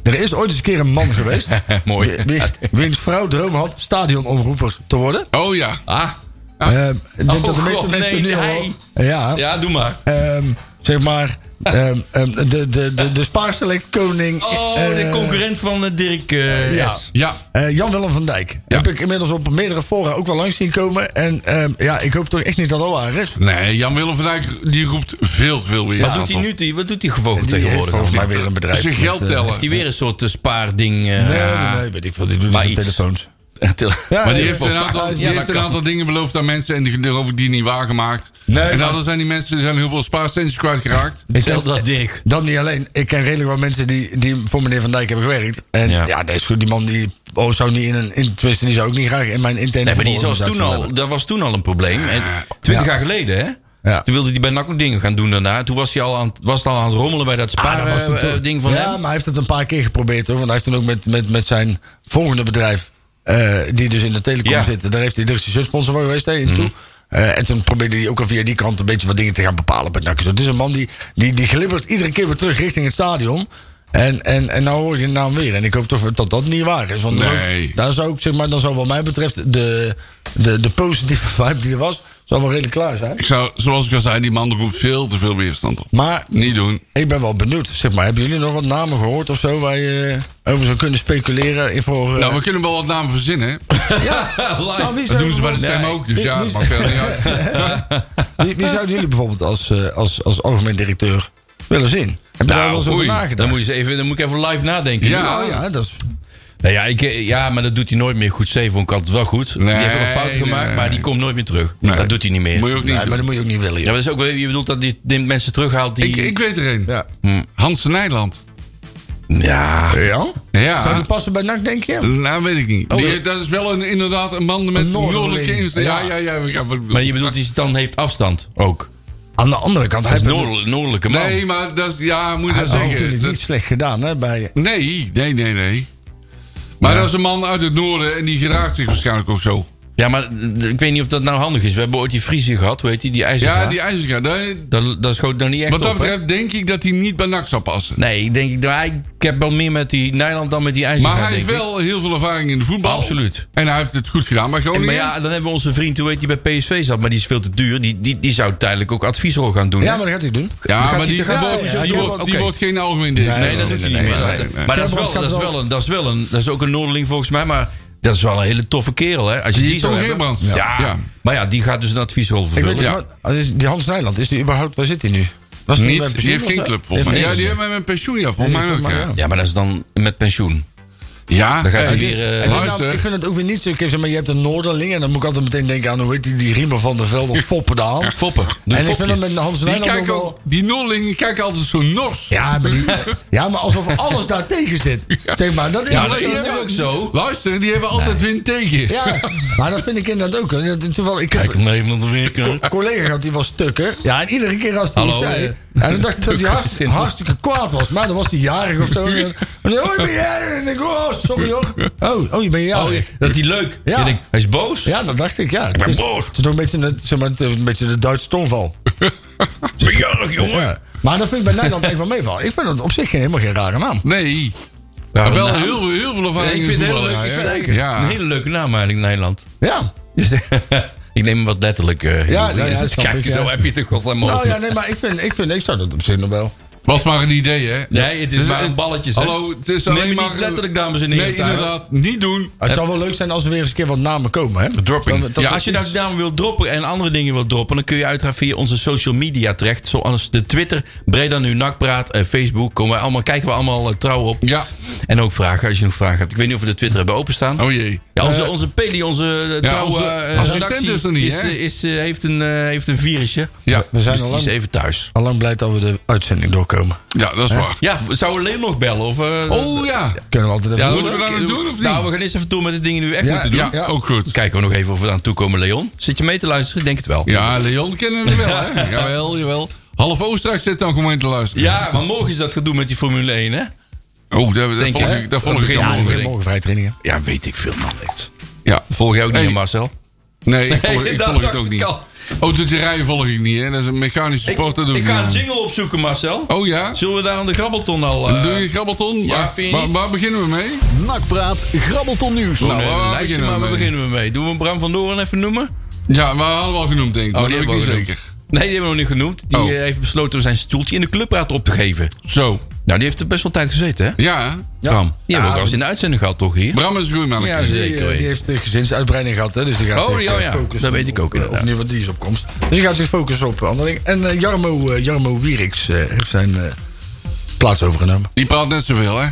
Er is ooit eens een keer een man geweest.
Mooi.
wie- wiens vrouw droom had stadionomroeper te worden.
Oh ja.
Ah,
Eh, ik denk
Oh,
dat de meeste
God,
mensen
nee,
nu al-
hij.
Ja,
ja, doe maar.
ehm, zeg maar. ehm, ehm, de, de, de, de Spaarselect koning.
Oh, de
eh,
concurrent van eh, Dirk eh,
ja.
S.
Ja.
Eh, Jan-Willem van Dijk.
Ja.
Heb ik inmiddels op meerdere fora ook wel langs zien komen. En ehm, ja, ik hoop toch echt niet dat dat waar is.
Nee, Jan-Willem van Dijk die roept veel te veel weer.
Wat doet hij nu? te- Wat doet hij gevogeld tegenwoordig?
volgens
Heeft
mij weer een bedrijf.
Zijn
met,
geld
eh,
tellen.
hij weer een soort eh, spaarding? eh,
Nee, nee, nee, weet ik veel. Die doen
Maar
maar
iets.
telefoons.
tele-
Ja,
Maar die
ja,
heeft een aantal, die
Ja, dat
heeft een
kan.
aantal dingen beloofd aan mensen en die die, die niet waargemaakt.
Nee,
en
maar-
dan zijn die mensen die zijn heel veel spaarcentjes kwijtgeraakt.
Hetzelfde als Dirk.
Dat niet alleen. Ik ken redelijk wat mensen die, die voor meneer Van Dijk hebben gewerkt. En
Ja.
ja, dat is goed. Die man die oh, zou niet in een... In, tenminste, die zou ook niet graag in mijn interne
Nee, maar die was
voetbalorganisatie
toen al,
willen
dat was toen al een probleem. En twintig
Ja.
jaar geleden, hè?
Ja.
Toen wilde hij bij NAC ook dingen gaan doen daarna. Toen was hij al aan, was het al aan het rommelen bij dat
Ah, dat was toen toch-
spaarding eh, van
ja,
hem.
maar hij heeft het een paar keer geprobeerd hoor. Want hij heeft toen ook met, met, met zijn volgende bedrijf, eh, die dus in de telecom
Ja. Mhm.
zitten, daar heeft hij direct zijn sponsor voor geweest. Hè, in toe. Eh, en toen probeerde hij ook al via die kant een beetje wat dingen te gaan bepalen. Bij NAC. Dus Het is een man die, die, die glibbert iedere keer weer terug richting het stadion. En, en, en nou hoor je de naam weer. En ik hoop toch dat dat niet waar is. Want
Nee.
dan, daar zou ik, zeg maar, dan zou wat mij betreft de, de, de positieve vibe die er was, zou wel redelijk klaar zijn.
Ik zou, zoals ik al zei, die man roept veel te veel weerstand op.
Maar
Niet doen.
ik ben wel benieuwd. Zeg maar, hebben jullie nog wat namen gehoord of zo waar je eh, over zou kunnen speculeren? in Voor, eh,
Nou, we kunnen wel wat namen verzinnen. hè. Dat doen ze bij de stem ook, dus
Wie-
ja, dat
wie-
maakt verder niet uit.
wie, wie zouden jullie bijvoorbeeld als, eh, als, als algemeen directeur willen zien? Heb je daar
Nou,
wel eens over
oei.
Dan
nagedacht?
moet, je eens even, dan moet ik even live nadenken.
Ja.
ja, ja, dat is,
Nou ja, ik, eh, ja, maar dat doet hij nooit meer goed. Zee vond ik altijd wel goed.
Nee,
die heeft wel een fout
nee,
gemaakt,
nee.
maar die komt nooit meer terug.
Nee.
Dat doet hij niet meer.
Moet je ook niet
nee, maar
doen.
dat moet je ook niet willen.
Ja,
joh.
maar dat is ook wel, je bedoelt dat die, die mensen terughaalt die...
Ik, ik weet er een.
Ja.
Hans Nijland.
Ja.
ja? Zou
Ja.
die passen bij NAC, denk je?
Nou, weet ik niet. Die- dat is wel een, inderdaad een man met
Noorderling.
noordelijke insteek. Ja, ja, ja. we gaan- we-
Maar je bedoelt, die dan heeft afstand ook. Oh.
Aan de andere kant, hij
Dat is
heeft
een noordel- noordelijke man.
Nee, maar dat is, ja, moet je dat
het natuurlijk
zeggen.
niet
Dat-
slecht gedaan hè, bij
nee, nee, nee, nee. Maar dat is een man uit het noorden en die gedraagt zich waarschijnlijk ook zo.
Ja, maar eh, ik weet niet of dat nou handig is. We hebben ooit die Friese gehad, hoe heet die? Die IJzer.
Ja, die ijzerga. Nee,
Dat, dat schoot dan niet echt
Wat dat
op, hè?
betreft denk ik dat hij niet bij NAC zou passen.
Nee, ik denk, nou, ik heb wel meer met die Nederland dan met die IJzer.
Maar hij heeft wel heel veel ervaring in de voetbal.
Absoluut.
En hij heeft het goed gedaan bij Groningen.
Maar ja, dan hebben we onze vriend, hoe heet die bij PSV zat, maar die is veel te duur. Die, die, die zou tijdelijk ook adviesrol gaan doen.
Ja,
hè?
maar dat gaat hij doen.
Ja,
gaat
maar
hij
die,
toch-
die
Ja,
wordt-
ja,
die
ja,
wordt-
oké.
die wordt geen algemeen directeur.
Nee, dat doet hij niet meer.
nee, nee.
Maar dat is wel-
Kerbrand
dat is
gaat wel-
wel een- dat is wel een- dat is ook een Noorderling volgens mij, maar dat is wel een hele toffe kerel. Hè? Als je
Die
die, zou
Tom
hebben.
Gerbrands.
Ja.
Ja. Ja.
maar ja, die gaat dus een adviesrol
Ik
vervullen.
weet
Ja.
niet, wat- Ah, is die Hans Nijland, is die überhaupt, waar zit hij nu? Was die bij
Niet, die
pensioen
heeft
of
geen
zo?
club volgens mij.
Heeft
Ja,
niks.
die hebben een pensioen, ja, volgens mij ook.
volgens mij,
ja.
ja.
Ja, maar dat is dan met pensioen.
Ja,
Dan gaat
eh,
hij
die-
weer, eh,
het is
Het is nou-
Luister.
ik vind het ook weer niet zo. ik zeg maar je hebt een Noorderling en dan moet ik altijd meteen denken aan hoe heet die, die Riemer van der Velde of Foppendaal.
Foppen. Doe
en ik
fopje.
vind hem met Hans
die,
Nijland ook
kijken ook,
wel.
die Nollingen kijken altijd zo nors.
Ja maar, die- ja, maar alsof alles daar tegen zit. Zeg maar, dat is,
Ja,
dat
dat
is-
is nu ook zo.
Luister, die hebben altijd win tegen.
ja, maar dat vind ik inderdaad ook. En dat- Terwijl ik heb
maar even op de weerkant.
een collega gehad, die was stukken. Ja, en iedere keer als hij iets
Hallo,
zei.
eh,
en dan dacht ik dat hij
tukken.
hartstikke, hartstikke kwaad was. Maar dan was hij jarig of zo. En dan, oh, ik ben jarig. En ik, oh, sorry hoor. Oh, oh je bent
Oh,
jarig.
dat hij leuk.
Ja.
Je denkt, hij is boos.
Ja, dat dacht ik, ja. Dus- Ik ben
boos.
Het is toch een beetje, een- zeg maar, het is een beetje de Duitse tongval.
Bejaardig, jongen.
Ja. Maar dat vind ik bij Nederland even van meevallen. Ik vind dat op zich geen, helemaal geen rare naam.
Nee.
Ja,
Maar wel
nou,
heel, veel- heel veel
Ja,
ervaring
ik
in
vind het heel
voetbal,
leuk. Ik
ja.
vind het eigenlijk
Ja.
Een hele leuke naam eigenlijk, Nederland.
Ja.
Dus, ik neem hem wat letterlijk. eh,
ja,
Hilde.
ja, snap
Kijk,
ik, ja.
zo heb je het toch godsnaam
Nou
over.
ja, nee, maar ik vind, ik vind, ik zou dat op zich nog wel.
Was maar een idee, hè?
Nee, het is
Dus
maar
eh,
het-
een balletjes. hè.
Hallo, het is
Neem
alleen
me
maar...
niet letterlijk, dames en heren.
Nee,
thuis.
inderdaad, niet doen.
Het zou wel leuk zijn als er weer eens een keer wat namen komen, hè?
Dropping.
Dat- dat
ja,
is
als je nou
iets-
daar namen wil droppen en andere dingen wil droppen, dan kun je uiteraard via onze social media terecht. Zoals de Twitter, Breda nu Nakpraat, eh, Facebook. Komen wij allemaal, kijken we allemaal eh, trouw op.
Ja.
En ook vragen, als je nog vragen hebt. Ik weet niet of we de Twitter hebben openstaan.
Oh jee.
Ja, onze, onze Peli, onze
Ja,
ja, trouwe
onze
eh,
assistent
redactie
is er niet, hè?
eh, is, eh, heeft, een, eh, heeft een virusje.
Ja,
We zijn
Dus
al
die is
lang,
even thuis.
al lang blij dat we de uitzending doorkomen.
ja dat is waar.
Ja, we zouden Leon nog bellen? Of, eh,
Oh ja.
Kunnen we altijd even...
ja,
moeten we dat nou doen of niet?
Nou, we gaan eerst even doen met de dingen die we echt
Ja,
moeten doen.
Ja,
Ja.
ook goed.
Kijken we nog even of we aan toe komen, Leon. Zit je mee te luisteren? Ik Denk het wel.
Ja, Leon kennen we wel, hè? Jawel, jawel. Half Oostenrijk zit dan gewoon te luisteren.
Ja, maar morgen is dat gedoe met die Formule 1, hè?
Oh, daar, daar
Denk
volg
ik,
ik, daar
dat
volg ik
begint
helemaal
aan.
niet.
morgen vrij trainingen.
Ja, weet ik veel, man. echt.
Ja.
Volg jij ook niet,
Hey.
hè, Marcel?
Nee, ik volg,
Nee,
ik
dat
volg het
dacht
ook
ik
niet.
al.
Autotierrijden volg ik niet, hè? Dat is een mechanische sport, dat doe ik,
ik ga een
niet.
jingle opzoeken, Marcel.
Oh ja?
Zullen we daar aan de grabbelton al... eh,
doe je grabbelton?
ja,
waar,
vind je
waar,
niet?
waar beginnen we mee?
Nakpraat, grabbelton nieuws.
Nou,
Nee,
waar
luister
beginnen we
maar, waar
mee?
beginnen we mee? Doen we een Bram van Doorn even noemen?
Ja, maar hadden Oh, we al genoemd,
Oh,
denk ik. maar dat weet ik niet
we
zeker.
genoemd. Nee, die hebben we nog niet genoemd. Die
Oh.
eh, heeft besloten om zijn stoeltje in de clubraad op te geven.
Zo.
Nou, die heeft er best wel tijd gezeten, hè?
Ja,
Ja. Bram. Die hebben we ook
Ja,
al eens in de uitzending gehad, toch, hier?
Bram is een goed mannetje.
Ja,
Die,
zeker
eh, die
weten.
heeft eh, gezinsuitbreiding gehad, hè? Dus die gaat
Oh,
zich
ja,
eh,
ja.
focussen.
Dat weet ik ook
op, eh, Of
inderdaad.
in ieder geval, die is op komst. Dus die gaat zich focussen op andere dingen. En eh, Jarmo, eh, Jarmo Wieriks eh, heeft zijn eh, plaats overgenomen.
Die praat net zoveel, hè?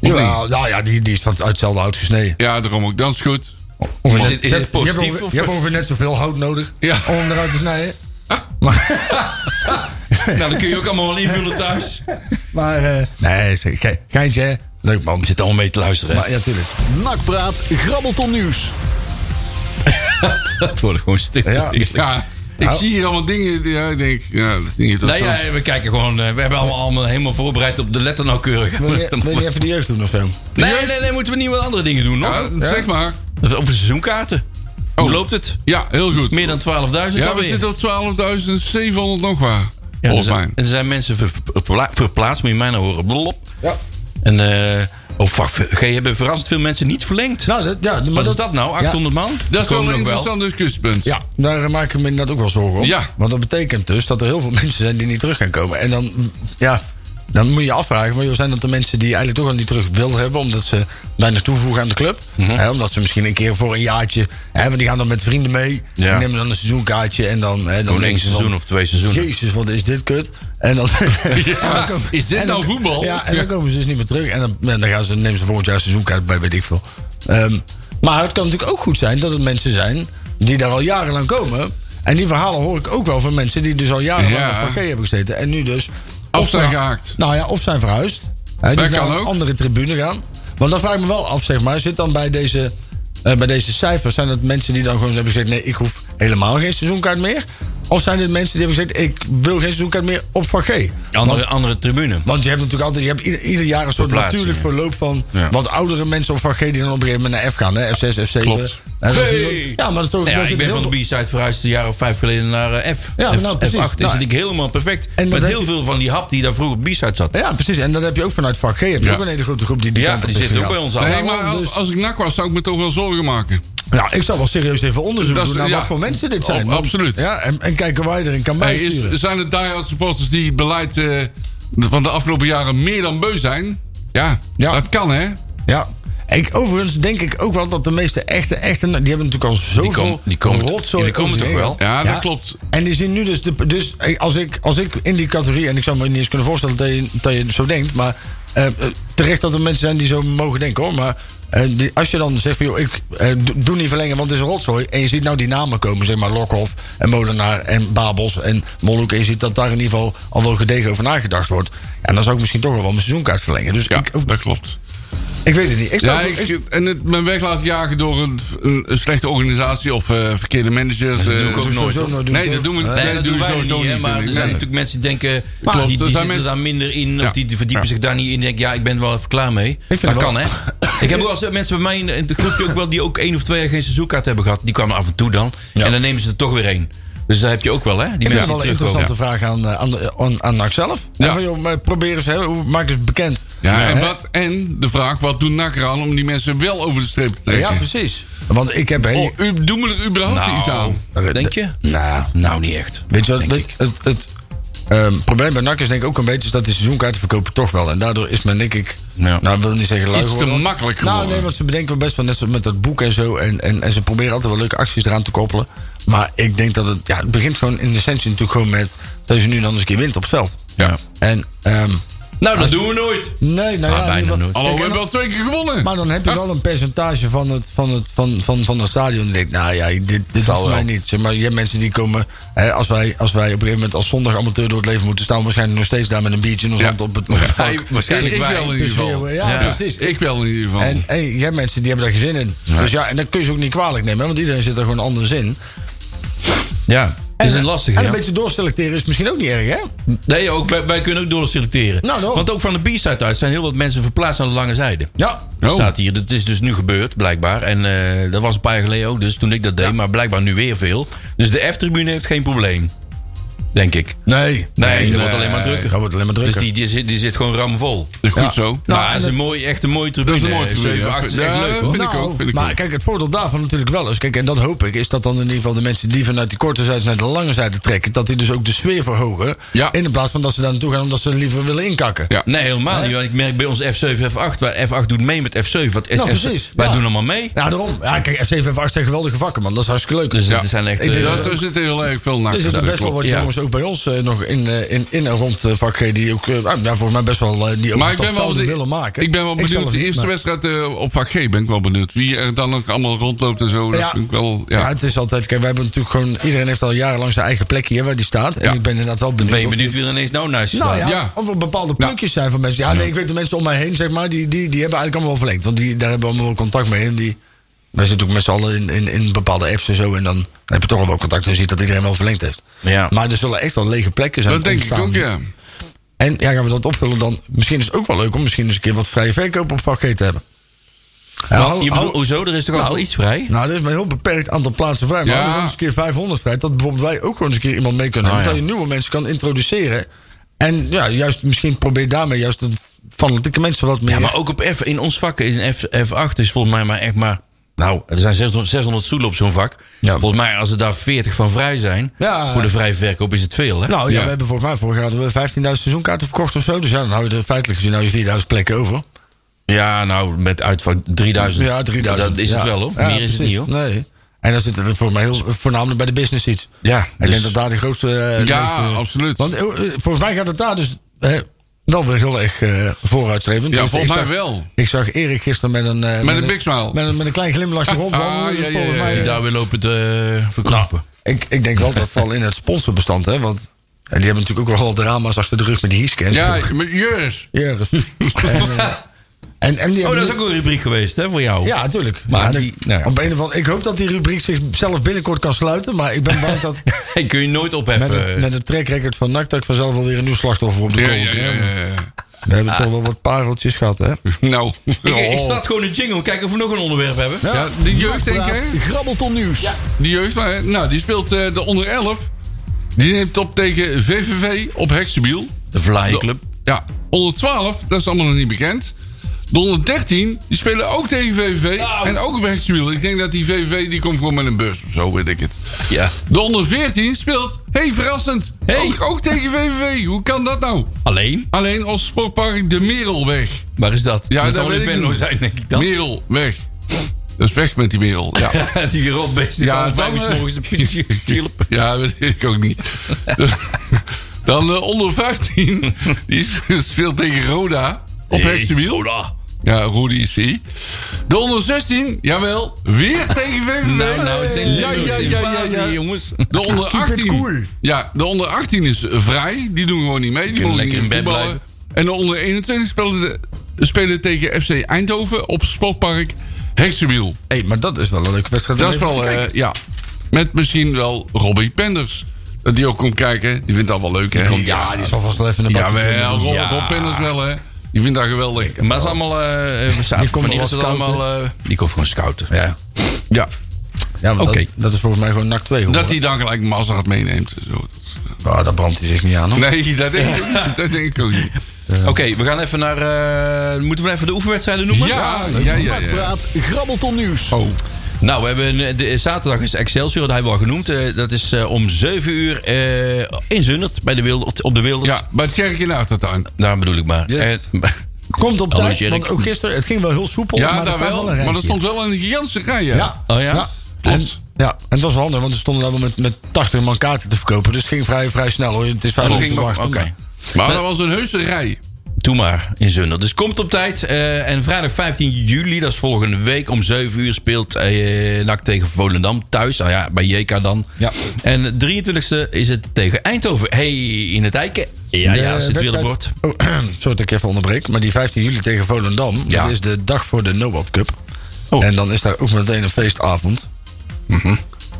Ja, nou ja, die, die is van uit hetzelfde hout gesneden.
Ja, daarom ook. Dat is goed.
Is het- is het positief
Je hebt, ongeveer,
of-
je hebt ongeveer net zoveel hout nodig
Ja.
om hem eruit te snijden.
Ah.
Maar,
Nou, dat kun je ook allemaal wel invullen thuis.
maar eh, nee, zeg, ge- geintje, hè? leuk man.
Zit allemaal mee te luisteren, hè?
Maar ja, tuurlijk.
Nakpraat, grabbelton nieuws.
Dat wordt gewoon stil.
Ja.
Ja. Ik zie hier allemaal dingen. Ja, ik denk, ja, dat is niet
Nou. Nee,
interessant.
ja, we kijken gewoon. eh, We hebben allemaal, allemaal helemaal voorbereid op de letter nauwkeurig.
Wil je, wil je even de jeugd doen of zo?
Nee, nee, nee, moeten we niet wat andere dingen doen, nog?
Ja, zeg maar.
Over seizoenkaarten. Hoe loopt het?
Ja, heel goed.
Meer dan 12.000
ja, we
alweer.
zitten op 12.700 nog waar.
Ja, er
Volgens
zijn,
mij.
er zijn mensen ver- verpla- verplaatst, moet je mij nou horen. Blop.
Ja.
En, eh oh fuck, G, hebben verrassend veel mensen niet verlengd.
Nou, dat, ja, maar
Wat is dat nou? 800 man?
Dat is wel
Komen
een
nog
interessant discussiepunt.
Ja, daar maak ik me inderdaad ook wel zorgen om.
Ja.
Want dat betekent dus dat er heel veel mensen zijn die niet terug gaan komen. En dan, ja, dan moet je je afvragen, maar, joh, zijn dat de mensen die eigenlijk toch al niet terug wilden hebben... omdat ze bijna toevoegen aan de club?
Mhm.
Hè, omdat ze misschien een keer voor een jaartje... Hè, want die gaan dan met vrienden mee,
Ja.
die nemen dan een seizoenkaartje... en dan, hè, dan
Gewoon één
denken ze van,
seizoen of twee seizoenen.
Jezus, wat is dit kut? En dan,
Ja, is dit
en dan-
nou voetbal?
Ja, en dan komen ze dus niet meer terug. En dan, en dan gaan ze, nemen ze volgend jaar seizoenkaart bij, weet ik veel. Ehm, maar het kan natuurlijk ook goed zijn dat het mensen zijn die daar al jarenlang komen. En die verhalen hoor ik ook wel van mensen die dus al jarenlang
Ja.
op vakje hebben gezeten. En nu dus...
Of zijn
nou-
gehaakt.
Nou ja, of zijn verhuisd. Hè, die
Dat kan
naar een
ook.
andere tribune gaan. Want dan vraag ik me wel af, zeg maar. Zit dan bij deze, eh, bij deze cijfers... zijn dat mensen die dan gewoon hebben gezegd... nee, ik hoef helemaal geen seizoenkaart meer? Of zijn dit mensen die hebben gezegd... ik wil geen seizoenkaart meer op vakje?
Andere, andere tribune.
Want je hebt natuurlijk altijd, je hebt ieder, ieder jaar een soort
Verplaatsing,
natuurlijk
ja.
verloop van
Ja.
wat oudere mensen op van G die dan op een gegeven moment naar F gaan, hè? F6, F7.
Klopt.
En dan
Hey!
zie je- Ja, maar dat is toch.
Nou
daar
ja,
zit
ik ben
heel
van de
veel-
B-side verhuisd een jaar of vijf geleden naar eh, F.
Ja,
F F8 is
nou, precies.
het
Nou,
natuurlijk helemaal perfect.
en dat
Met
heb
heel
je-
veel van die hap die daar vroeger op B-side zat.
Ja, precies. En dat heb je ook vanuit vak G. Heb je
Ja.
ook een hele grote groep die die
Ja,
kant op
die
is
zitten ook bij
gegaan.
ons
Nee,
aan.
maar als, als ik nak was, zou ik me toch wel zorgen maken.
Nou, ik zou wel serieus even onderzoek
Dat is-
doen naar
ja.
wat voor mensen dit
Ab-
zijn. Want-
absoluut.
Ja, en, en kijken waar je erin kan
Hey, is,
bijsturen.
zijn het die-hard supporters die beleid eh, van de afgelopen jaren meer dan beu zijn? Ja,
Ja.
dat kan hè.
Ja. Ik, overigens denk ik ook wel dat de meeste echte, echte... Die hebben natuurlijk al zoveel
komen- die komen-
rotzooi
die komen
over zich
toch
heen.
wel?
Ja, dat klopt.
En die zien nu dus... De, dus als ik, als ik in die categorie... En ik zou me niet eens kunnen voorstellen dat je, dat je zo denkt. Maar eh, eh, terecht dat er mensen zijn die zo mogen denken hoor. Maar eh, die, als je dan zegt van... Joh, ik eh, do- doe niet verlengen want het is een rotzooi. En je ziet nou die namen komen. Zeg maar Lokhoff en Molenaar en Babels en Molhoek. En je ziet dat daar in ieder geval al wel gedegen over nagedacht wordt. En dan zou ik misschien toch wel mijn seizoenkaart verlengen. Dus
Ja,
ik,
dat klopt.
ik weet het niet. Ik zou
Ja,
het- ik-
ik, en het, mijn weg laten jagen door een, een, een slechte organisatie of eh, verkeerde managers.
doe
eh,
ik
dus-
ook nooit.
sowieso nooit doen,
Nee,
toch?
dat doen we
Nee,
nee,
dat
dat doen we
doen wij
sowieso
niet, hè,
niet.
maar er
vind ik.
zijn
Nee.
natuurlijk mensen die denken...
Klopt,
die,
er
die
zijn
zitten
mensen-
daar minder in of
Ja.
die, die verdiepen zich daar niet in. denken, ja, ik ben er wel even klaar mee.
vind
dat
het wel-
kan, hè? ik heb ook als mensen bij mij in het groepje ook wel... die ook één of twee jaar geen seizoenkaart hebben gehad. Die kwamen af en toe dan. En dan nemen ze er toch weer één. Dus dat heb je ook wel, hè? Die
Ik vind
mensen
het
die
wel een
terugkomen.
interessante vraag aan, eh, aan, de- aan, aan NAC zelf.
Ja.
En Van, joh, maar probeer eens, hè, hoe- maak eens bekend.
Ja, en,
Hè?
wat, en de vraag, wat doen NAC eraan om die mensen wel over de streep te trekken?
ja, precies. Want ik heb... heel-
Oh, u, doen we er überhaupt iets
Nou,
aan?
denk je?
nou,
Nou, niet echt.
weet je wat?
denk
weet-
ik.
het het ehm, probleem bij NAC is denk ik ook een beetje... is dat die seizoenkaarten verkopen toch wel. En daardoor is men denk ik...
Ja.
Nou, ik wil niet zeggen lui
Iets te
geworden.
makkelijk
Nou,
geworden.
nee, want ze bedenken wel best wel net zoals met dat boek en zo. En, en, en ze proberen altijd wel leuke acties eraan te koppelen. Maar ik denk dat het... Ja, het begint gewoon in de essentie natuurlijk gewoon met... dat je nu dan eens een keer wint op het veld.
Ja.
En, ehm,
Nou, dat doen we nooit.
nee, nou
Ah,
ja...
bijna
in ieder geval-
nooit.
Hallo,
Kijk,
we
en
hebben wel twee keer gewonnen.
Maar dan heb je wel een percentage van het, van het, van, van, van het stadion. Ik denk, nou ja, dit, dit is voor mij niet. Zeg maar, je hebt mensen die komen. Hè, als, wij, als wij op een gegeven moment als zondag amateur door het leven moeten staan, we waarschijnlijk nog steeds daar met een biertje in ons
Ja.
hand op het. op het vak.
Hij- waarschijnlijk
ik
wij.
wel in ieder geval.
Ja,
Ja,
precies.
Ik wel in ieder geval.
En hey, je hebt mensen die hebben daar geen zin in. Dus ja, en dat kun je ze ook niet kwalijk nemen, hè, want iedereen zit er gewoon anders in.
Ja, dat is een lastige,
En
ja.
een beetje doorselecteren is misschien ook niet erg, hè?
Nee, ook, wij, wij kunnen ook doorselecteren.
Nou, dan.
Want ook van de B-side uit zijn heel wat mensen verplaatst aan de lange zijde.
Ja.
Dat
Oh.
staat hier. Dat is dus nu gebeurd, blijkbaar. En eh, dat was een paar jaar geleden ook, dus toen ik dat deed. Maar blijkbaar nu weer veel. Dus de F-tribune heeft geen probleem. Denk ik.
Nee.
Nee, dat wordt alleen maar drukker.
Dat wordt alleen maar drukker.
Dus die, die, zit, die zit gewoon ramvol.
Goed
ja.
zo.
Nou,
en
dat is
dat-
een mooie, echt een mooie tribune. eh,
Dat is een mooie tribune,
Zeven,
ja.
acht is echt
Ja,
leuk, hoor.
Eh, vind ik ook, vind ik
Nou, maar
ook.
kijk, het voordeel daarvan natuurlijk wel is... Kijk, en dat hoop ik, is dat dan in ieder geval de mensen... die vanuit die korte zijde naar de lange zijde trekken... dat die dus ook de sfeer verhogen...
Ja.
in de plaats van dat ze daar naartoe gaan... omdat ze liever willen inkakken.
Ja.
Nee, helemaal niet. Want ik merk bij ons F7, F8. Waar F8 doet mee met F7. Wat is
Nou,
F7?
precies,
Wij
ja.
doen allemaal mee.
Ja, daarom. Ja, kijk, F7 en F8 zijn geweldige vakken, man. Dat is hartstikke leuk.
Dus
ja.
dat zijn echt...
Ik denk
eh,
Dat er zitten heel erg veel
er
nakken.
zitten
dat
best wel
klopt.
wat
ja.
jongens ook bij ons eh, nog in, eh, in, in en rond eh, vak G... die ook, eh, nou, ja, volgens mij best wel eh, die ook
Maar ik ben wel,
zouden
de-
willen maken.
ik ben wel
zelf
benieuwd. De
niet,
eerste
maar-
wedstrijd eh, op vak G ben ik wel benieuwd. Wie er dan ook allemaal rondloopt en zo. Dat
Ja.
vind ik wel...
Ja.
Ja.
het is altijd... Kijk, wij hebben natuurlijk gewoon... Iedereen heeft al jarenlang zijn eigen plekje hè, waar die staat. En
Ja.
ik ben inderdaad wel benieuwd
Ben je
of-
benieuwd wie er ineens nou naast je
Nou
staat?
ja,
Ja.
of er bepaalde plukjes zijn van mensen. Ja, nee, ik weet de mensen om mij heen, zeg maar, die, die, die hebben eigenlijk allemaal wel verlengd. Want die, daar hebben we allemaal wel contact mee. En die, Wij zitten ook met z'n allen in, in, in bepaalde apps en zo. En dan heb je toch al wel contact en je ziet dat iedereen wel verlengd heeft.
Ja.
Maar er zullen echt wel lege plekken zijn.
Dat denk ik
ontstaan
ook,
die-
ja.
En ja, gaan we dat opvullen dan? Misschien is het ook wel leuk om misschien eens een keer wat vrije verkoop op vakgeet te hebben. Ja, hou-
je
hou-
bedoelt, hoezo? Er is toch al wel iets vrij?
Nou, er is maar een heel beperkt aantal plaatsen vrij. Maar
Ja.
we gewoon eens een keer 500 vrij. Dat bijvoorbeeld wij ook gewoon eens een keer iemand mee kunnen
Oh,
hebben.
ja.
Dat je nieuwe mensen kan introduceren. En ja, juist misschien probeer daarmee juist de fanatieke mensen wat meer...
Ja, maar ook op F, in ons vak, in F, F8 is volgens mij maar echt maar... Nou, er zijn 600, 600 stoelen op zo'n vak.
Ja.
Volgens mij, als er daar 40 van vrij zijn,
Ja.
voor de vrije verkoop is het veel, hè?
Nou ja,
Ja.
we hebben volgens mij vorig jaar hadden we 15.000 seizoenkaarten verkocht of zo. Dus ja, dan hou je er feitelijk gezien nou je 4000 plekken over.
ja, nou, met uitvak 3000.
Ja, 3000.
Dat is
Ja.
het wel, hoor.
Ja,
Meer is het
precies. Nou,
niet, hoor.
Nee. En dan zitten er voor mij heel, voornamelijk bij de business seats.
Ja,
Ik
dus-
denk dat daar de grootste... eh,
Ja,
leuk, eh,
absoluut.
Want eh, volgens mij gaat het daar dus eh, wel weer heel erg eh vooruitstrevend.
Ja,
Dus
volgens
ik
mij
zag-
wel.
Ik zag Erik gisteren met een... eh,
een big smile.
Met een, met een klein glimlachje rondwandelen.
Ah,
Dus
ja, ja,
volgens
ja, ja.
mij,
Die
eh,
daar weer lopen te eh, verknappen.
Ik, ik denk wel dat vooral in het sponsorbestand, hè. Want eh, die hebben natuurlijk ook wel wat drama's achter de rug met die Hieske. en
Ja,
zo.
met Juris.
Jurgens. en, eh, en, en die
oh,
hebben
dat is
nu-
ook een rubriek geweest, hè, voor jou?
Ja, natuurlijk.
Maar
Ja,
die-
dat-
nou ja.
Op een of andere, ik hoop dat die rubriek zichzelf binnenkort kan sluiten. Maar ik ben bang dat
Hey, kun je nooit opheffen.
met het, met het trackrecord van NAC... dat ik vanzelf alweer een nieuw slachtoffer op de
Ja,
kool
ja, Ah. ja,
krijg.
ja.
We hebben toch wel wat pareltjes gehad, hè?
Nou.
ik, ik
oh.
start gewoon een jingle. Kijken of we nog een onderwerp hebben.
Ja, de jeugd, denk ik.
Grabbelton nieuws.
Die jeugd, maar, nou, die speelt eh, de onder 11. Die neemt op tegen VVV op Heksenbiel.
De Vlaai Club.
Ja, onder 12, dat is allemaal nog niet bekend. De onder 13, die spelen ook tegen VVV en ook op Heksenbiel. Ik denk dat die VVV, die komt gewoon met een bus of zo, weet ik het.
Ja.
De onder 14 speelt, hey, verrassend,
Hey.
Ook, ook tegen VVV. Hoe kan dat nou?
Alleen,
Alleen als sportpark de Merelweg.
waar is dat?
Ja,
dat
dat
zal wel in
weet ik
Venlo
niet.
zijn, denk ik dan.
Merelweg. Dat is weg met die Merel, ja.
die rotbeest die
Ja,
ja, vijf
dan,
uur 's
eh,
morgens de politie chillen.
Ja, dat weet ik ook niet. Dan eh, onder 15. Die speelt tegen Roda. Op
Hey,
Hexenwiel.
Roda.
Ja, Rodi is hij. De onder 16, jawel. Weer tegen VVV.
Nou, nou, het zijn
ja, ja, ja, ja, ja.
jongens.
De onder 18. Ja, de onder 18 is eh, vrij. Die doen gewoon niet mee. Die
kunnen
mogen
lekker
niet
in bed
voetballen. En de onder 21 spelen, de- spelen tegen FC Eindhoven op Sportpark Hexenwiel.
hey, maar dat is wel een leuke wedstrijd.
Dat is wel, eh, ja. Met misschien wel Robbie Penders. Dat die ook komt kijken. Die vindt dat wel leuk, hè?
Ja, Ah, die zal vast wel even naar
Ja, eh,
buiten.
wel, Rob,
Ja.
Rob Penders wel, hè? Die vindt dat geweldig.
Maar het is allemaal... eh, eh, we staan-
Die komt
wanneer
wel
is het
scouten.
allemaal... eh, die komt gewoon scouten.
Ja,
Ja.
ja maar
Oké.
dat, dat is volgens mij gewoon NAC 2.
Dat hij dan gelijk Mazda meeneemt. en Zo. Dat is-
Ah, daar brandt hij zich niet aan, hoor.
Nee, dat denk ik ook niet. Dat denk ik ook niet.
Oké, we gaan even naar... eh, moeten we even de oefenwedstrijden noemen?
Ja, ja, ja. ja.
Nakpraat, Grabbelton nieuws.
Nou, we hebben eh, de, zaterdag is Excelsior, dat hebben we al genoemd. Eh, dat is eh, om 7 uur eh, in Zundert, bij de Wildert, op de Wildert.
Ja, maar check in de achtertuin.
Daar bedoel ik maar.
Yes.
Eh,
Komt op
Hallo,
tijd,
Jerk.
want ook gisteren, het ging wel heel soepel.
Ja,
maar
daar wel. Maar dat stond wel in de gigantische rij, hè?
Ja.
oh ja?
En,
Klopt.
ja, en het was wel handig, want ze stonden daar wel met, met 80 man kaarten te verkopen. Dus het ging vrij, vrij snel hoor. Het is vijf
Oh, Dat
minuten
ging
te
wel-
wachten.
Oké.
maar-
Maar dat was een heuse rij.
Doe maar in Zundert. Dus komt op tijd. eh, en vrijdag 15 juli, dat is volgende week, om 7 uur speelt eh NAC tegen Volendam thuis. Nou ja, bij JK dan.
Ja.
En 23e is het tegen Eindhoven. hey, in het Eiken. Ja,
De
ja, zit weer op
wedstrijd-
bord.
Oh, sorry dat ik even onderbreek. Maar die 15 juli tegen Volendam,
Ja.
dat is de dag voor de Noord Cup.
Oh.
En dan is daar ook meteen een feestavond.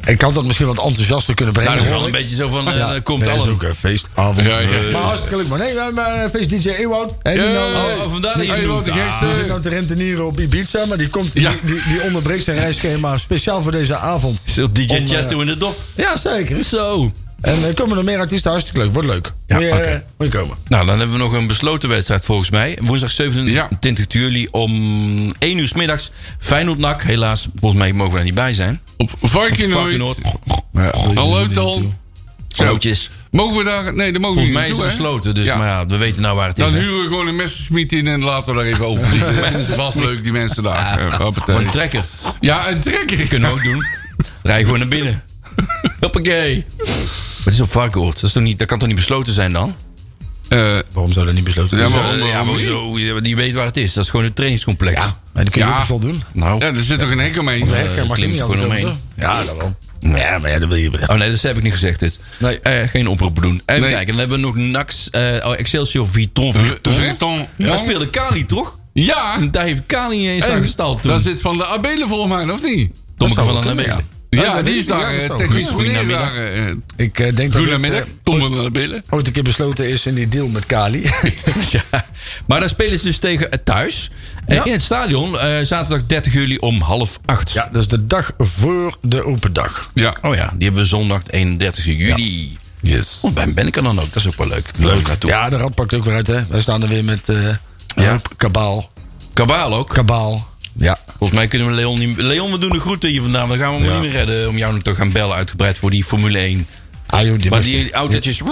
Ik had dat misschien wat enthousiaster kunnen brengen.
Nou, dat is wel
hoor
een
ik.
beetje zo van, eh,
Ja,
dat komt
er is
alles.
ook een feestavond.
Ja, ja.
Maar hartstikke leuk. Maar nee, maar, maar feest DJ Ewout. hè, die
Ja.
nou, eh,
Oh, vandaar dat je
Hey,
het
wat
noemt.
de gekste.
Ah.
Die zit nou te rentenieren op Ibiza, maar die, komt,
Ja.
die, die, die onderbreekt zijn reisschema speciaal voor deze avond.
Zult DJ
Om, eh,
Chesto in de dop.
Ja, zeker.
Zo.
En er komen er meer artiesten, hartstikke leuk. Wordt leuk.
Ja,
moet, je,
oké.
eh, moet je komen.
Nou, dan hebben we nog een besloten wedstrijd volgens mij. Woensdag 27 juli om 1 uur 's middags. Feyenoord-NAC. Helaas, volgens mij mogen we daar niet bij zijn.
Op Varkenoord.
Varkenoord. Nou,
Hallo, Tal.
Grootjes.
Mogen we daar... Nee, daar mogen
Volgens
we
mij
niet
is het
naartoe, hè?
besloten, dus
Ja.
maar ja, we weten nou waar het
Dan
is. hè.
huren we gewoon een messersmiet in en laten we daar even over vliegen. Dat is vast leuk, die mensen daar. Eh, hoppatee.
Of een trekker.
ja, een trekker.
Kunnen we ook doen. Rij gewoon naar binnen. Hoppakee. Het is op Varkenoord. Dat, is toch niet, dat kan toch niet besloten zijn dan?
Eh,
Waarom zou dat niet besloten
ja, maar,
worden?
Eh, ja, maar zo, die weet waar het is. Dat is gewoon een trainingscomplex.
Maar die kun je
Ja.
ook nog wel doen.
Nou,
ja, er zit toch een hek omheen?
Nee,
dat
mag je
klimt
niet
gewoon
altijd
omheen.
doen, toch? Ja, dat wel.
Ja, maar ja, dat wil je. Oh nee, dat heb ik niet gezegd. Dit.
Nee.
Eh, geen oproep doen. Even
Nee.
kijken, dan hebben we nog Nax, eh, oh, Excelsior Viton. Viton.
Vreton.
Daar speelde Kali toch?
Ja,
Dave Kali niet eens
en
aan gestald toen.
daar zit van de Abelen volgens mij, of niet?
Tommeke van de Oh,
kunnen,
Belen.
Ja,
dat
die
weet
is
ik,
daar
ja,
eh,
dat is
technisch
ook. Goedenamiddag.
goedemiddag. Uh,
Ik eh, denk dat het
goedemiddag,
eh,
Tom van de Belen.
ooit een keer besloten is in die deal met Kali.
Ja. Maar daar spelen ze dus tegen eh, thuis. Eh, in het stadion, eh, zaterdag 30 juli om half acht.
ja, dat is de dag voor de open dag.
Ja.
Oh ja, die hebben we zondag 31 juli.
Yes.
Oh, ben, ben ik er dan ook? Dat is ook wel leuk.
Leuk.
Naartoe.
Ja, de rand pakt ook weer uit, hè. Wij staan er weer met eh, een
Ja.
hoop kabaal.
Kabaal ook.
Kabaal. Ja.
Volgens mij kunnen we Leon niet... Leon, we doen de groeten hier vandaan. Dan gaan we hem
Ja.
niet meer redden om jou nog te gaan bellen uitgebreid voor die Formule 1.
Ah, joh, die
Maar
heeft-
die autootjes...
die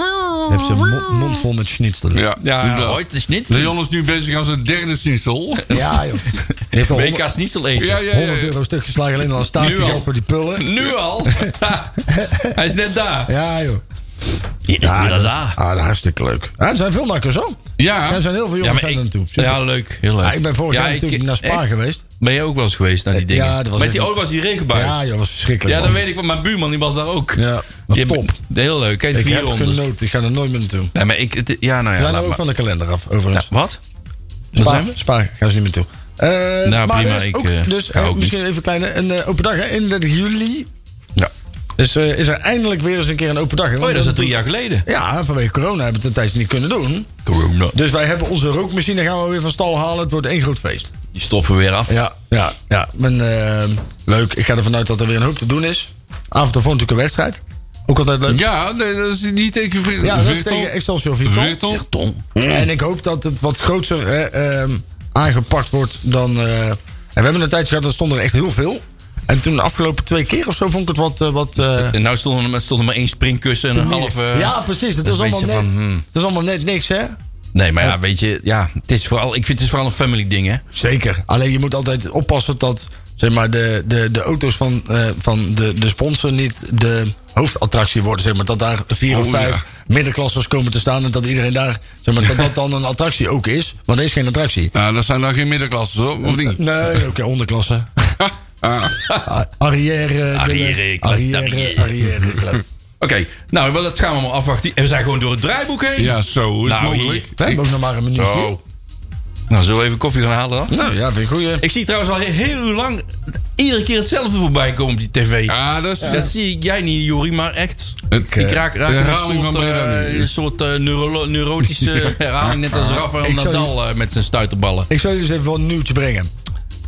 heeft zijn mo- mond vol met schnitzelen.
Ja,
Ja,
inderdaad.
ooit is niet.
Leon is nu bezig als een derde sinsel.
Ja, joh. Die heeft al
BK
100,
is niet zo eten.
Ja, ja, ja.
100 euro stuk geslagen alleen al een staartje
Nu al.
geld voor die pullen.
Nu al. Hij is net daar.
Ja, joh.
Hier is hij
dat
weer
is-
daar.
ah, dat is hartstikke leuk. Ja, er zijn veel nakkers, hoor.
Ja,
Er zijn heel veel
Ja,
jongens
maar
zijn er
ik,
naartoe. Super.
ja, leuk. Heel leuk.
Ja, ik ben vorig
Ja,
jaar
ik-
natuurlijk naar Spa
echt?
geweest.
Ben je ook wel eens geweest naar die
Ja,
dingen?
dat was
Met
echt-
die, oh, was die regenbui.
Ja, joh, was verschrikkelijk.
Ja,
man.
dat weet ik van mijn buurman, die was daar ook.
Ja, wat
Die hebben-
top.
Heel leuk, kijk,
Ik
vier
heb
rondes.
genoten. Ik ga er nooit meer naartoe.
Nee, maar ik, het- ja, nou ja,
We zijn
laat
nou ook
maar.
van de kalender af, overigens.
Ja, wat? Daar
Spa,
zijn we?
Spa gaan ze niet meer toe. Eh,
Nou,
maar
prima,
er is
ik,
ook-
eh,
dus
ga
eh,
ook
misschien even een kleine een, eh, open dag. Hè? 31 juli
Ja.
dus, eh, is er eindelijk weer eens een keer een open dag. hè?
Oh, ja,
Want
dat is al drie jaar geleden.
Ja, vanwege corona hebben we het een tijdje niet kunnen doen.
Corona.
Dus wij hebben onze rookmachine gaan we weer van stal halen. Het wordt één groot feest.
Die stoffen weer af.
Ja, ja, ja. En, eh, leuk. Ik ga ervan uit dat er weer een hoop te doen is. Avond ervoor natuurlijk een wedstrijd. Ook altijd leuk.
ja nee, dat is niet tegen Vir-
Ja, dat is
Virton.
tegen Excelsior Vierton.
Virton.
Echt dom.
En ik hoop dat het wat groter hè, ehm, aangepakt wordt dan. eh, en we hebben een tijdje gehad, dat stond er echt heel veel. En toen de afgelopen twee keer of zo vond ik het wat. eh, wat eh,
En nou stond er, stond er maar één springkussen en een half... eh,
ja, precies. Het
dat is
is,
een
allemaal net,
beetje van, hmm.
het is allemaal net niks, hè?
Nee, maar ja, weet je, ja, het is vooral, ik vind het is vooral een family ding, hè.
Zeker. Alleen je moet altijd oppassen dat zeg maar, de, de, de auto's van, eh, van de, de sponsor niet de hoofdattractie worden. Zeg maar. Dat daar vier of
Oh,
vijf
ja.
middenklassers komen te staan. En dat iedereen daar. Zeg maar, dat dat dan een attractie ook is. Want er is geen attractie.
Nou, dat zijn dan geen middenklassen, hoor, of niet?
Nee, oké, onderklasse.
Ah.
Ah, Arrière. eh,
Arrière
dingen.
klas,
Arrière.
arrière.
Arrière klas.
Oké, nou, wel, dat gaan we allemaal afwachten. En we zijn gewoon door het draaiboek heen.
Ja, zo is
Nou,
mogelijk.
hier.
We hebben ook nog maar een minuutje.
Oh.
Zo. Nou, zullen we even koffie gaan halen dan?
Nou ja, vind ik goed. hè.
Ik zie trouwens al heel lang iedere keer hetzelfde voorbij komen op die tv.
Ja, dat is
Dat zie ik jij niet, Jori, maar echt.
Het-
ik raak, raak
de
een
herhaling
soort,
van Breda
eh,
nu.
een soort eh, neurolo- neurotische herhaling. Net als Rafael
Ik zou-
Nadal eh, met zijn stuiterballen.
Ik zal jullie dus even wel een nieuwtje brengen.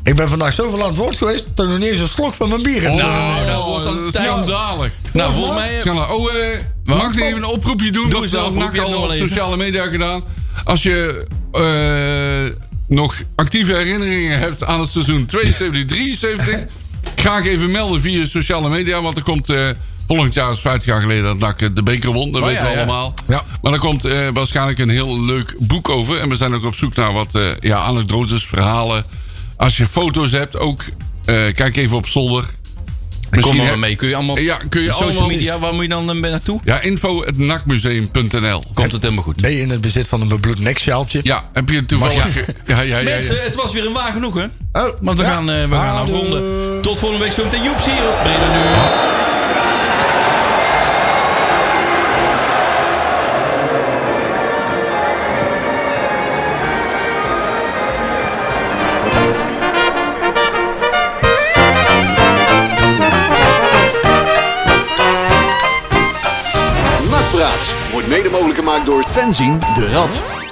Ik ben vandaag zoveel aan het woord geweest dat ik nog niet eens een slok van mijn bier heb.
Nou, dat wordt dan
Oh,
tijd.
is Schandalig.
Nou, volgens mij... eh,
Schandalig. Oh, eh, mag ik even een oproepje doen?
Doe eens een
Dat
oproep,
had
ja,
ik
doe
al op
wel even.
sociale media gedaan. Als je eh, nog actieve herinneringen hebt aan het seizoen 72, 73... graag even melden via sociale media. Want er komt eh, volgend jaar, is 50 jaar geleden, dat NAC eh, de beker won. Dat
Oh,
weten
ja,
we
ja.
allemaal.
Ja.
Maar er komt eh, waarschijnlijk een heel leuk boek over. En we zijn ook op zoek naar wat eh, ja, anekdotes, verhalen. Als je foto's hebt, ook eh, kijk even op zolder.
Kom
Misschien
maar
heb-
mee. Kun je allemaal
Ja, kun je
op social
allemaal-
media, waar moet je dan eh, naartoe?
Ja, info.nakmuseum.nl.
Komt het helemaal goed.
Ben je in het bezit van een bebloed nekschaaltje?
Ja, heb je toevallig... Ja, ja, ja. ja,
Mensen, het was weer een waar genoegen.
Oh,
Want we
ja.
gaan, eh, we gaan
Adoe.
afronden. Tot volgende week zometeen. Joeps hier op Breda Nu.
Nakpraat wordt mede mogelijk gemaakt door fanzine de Rad.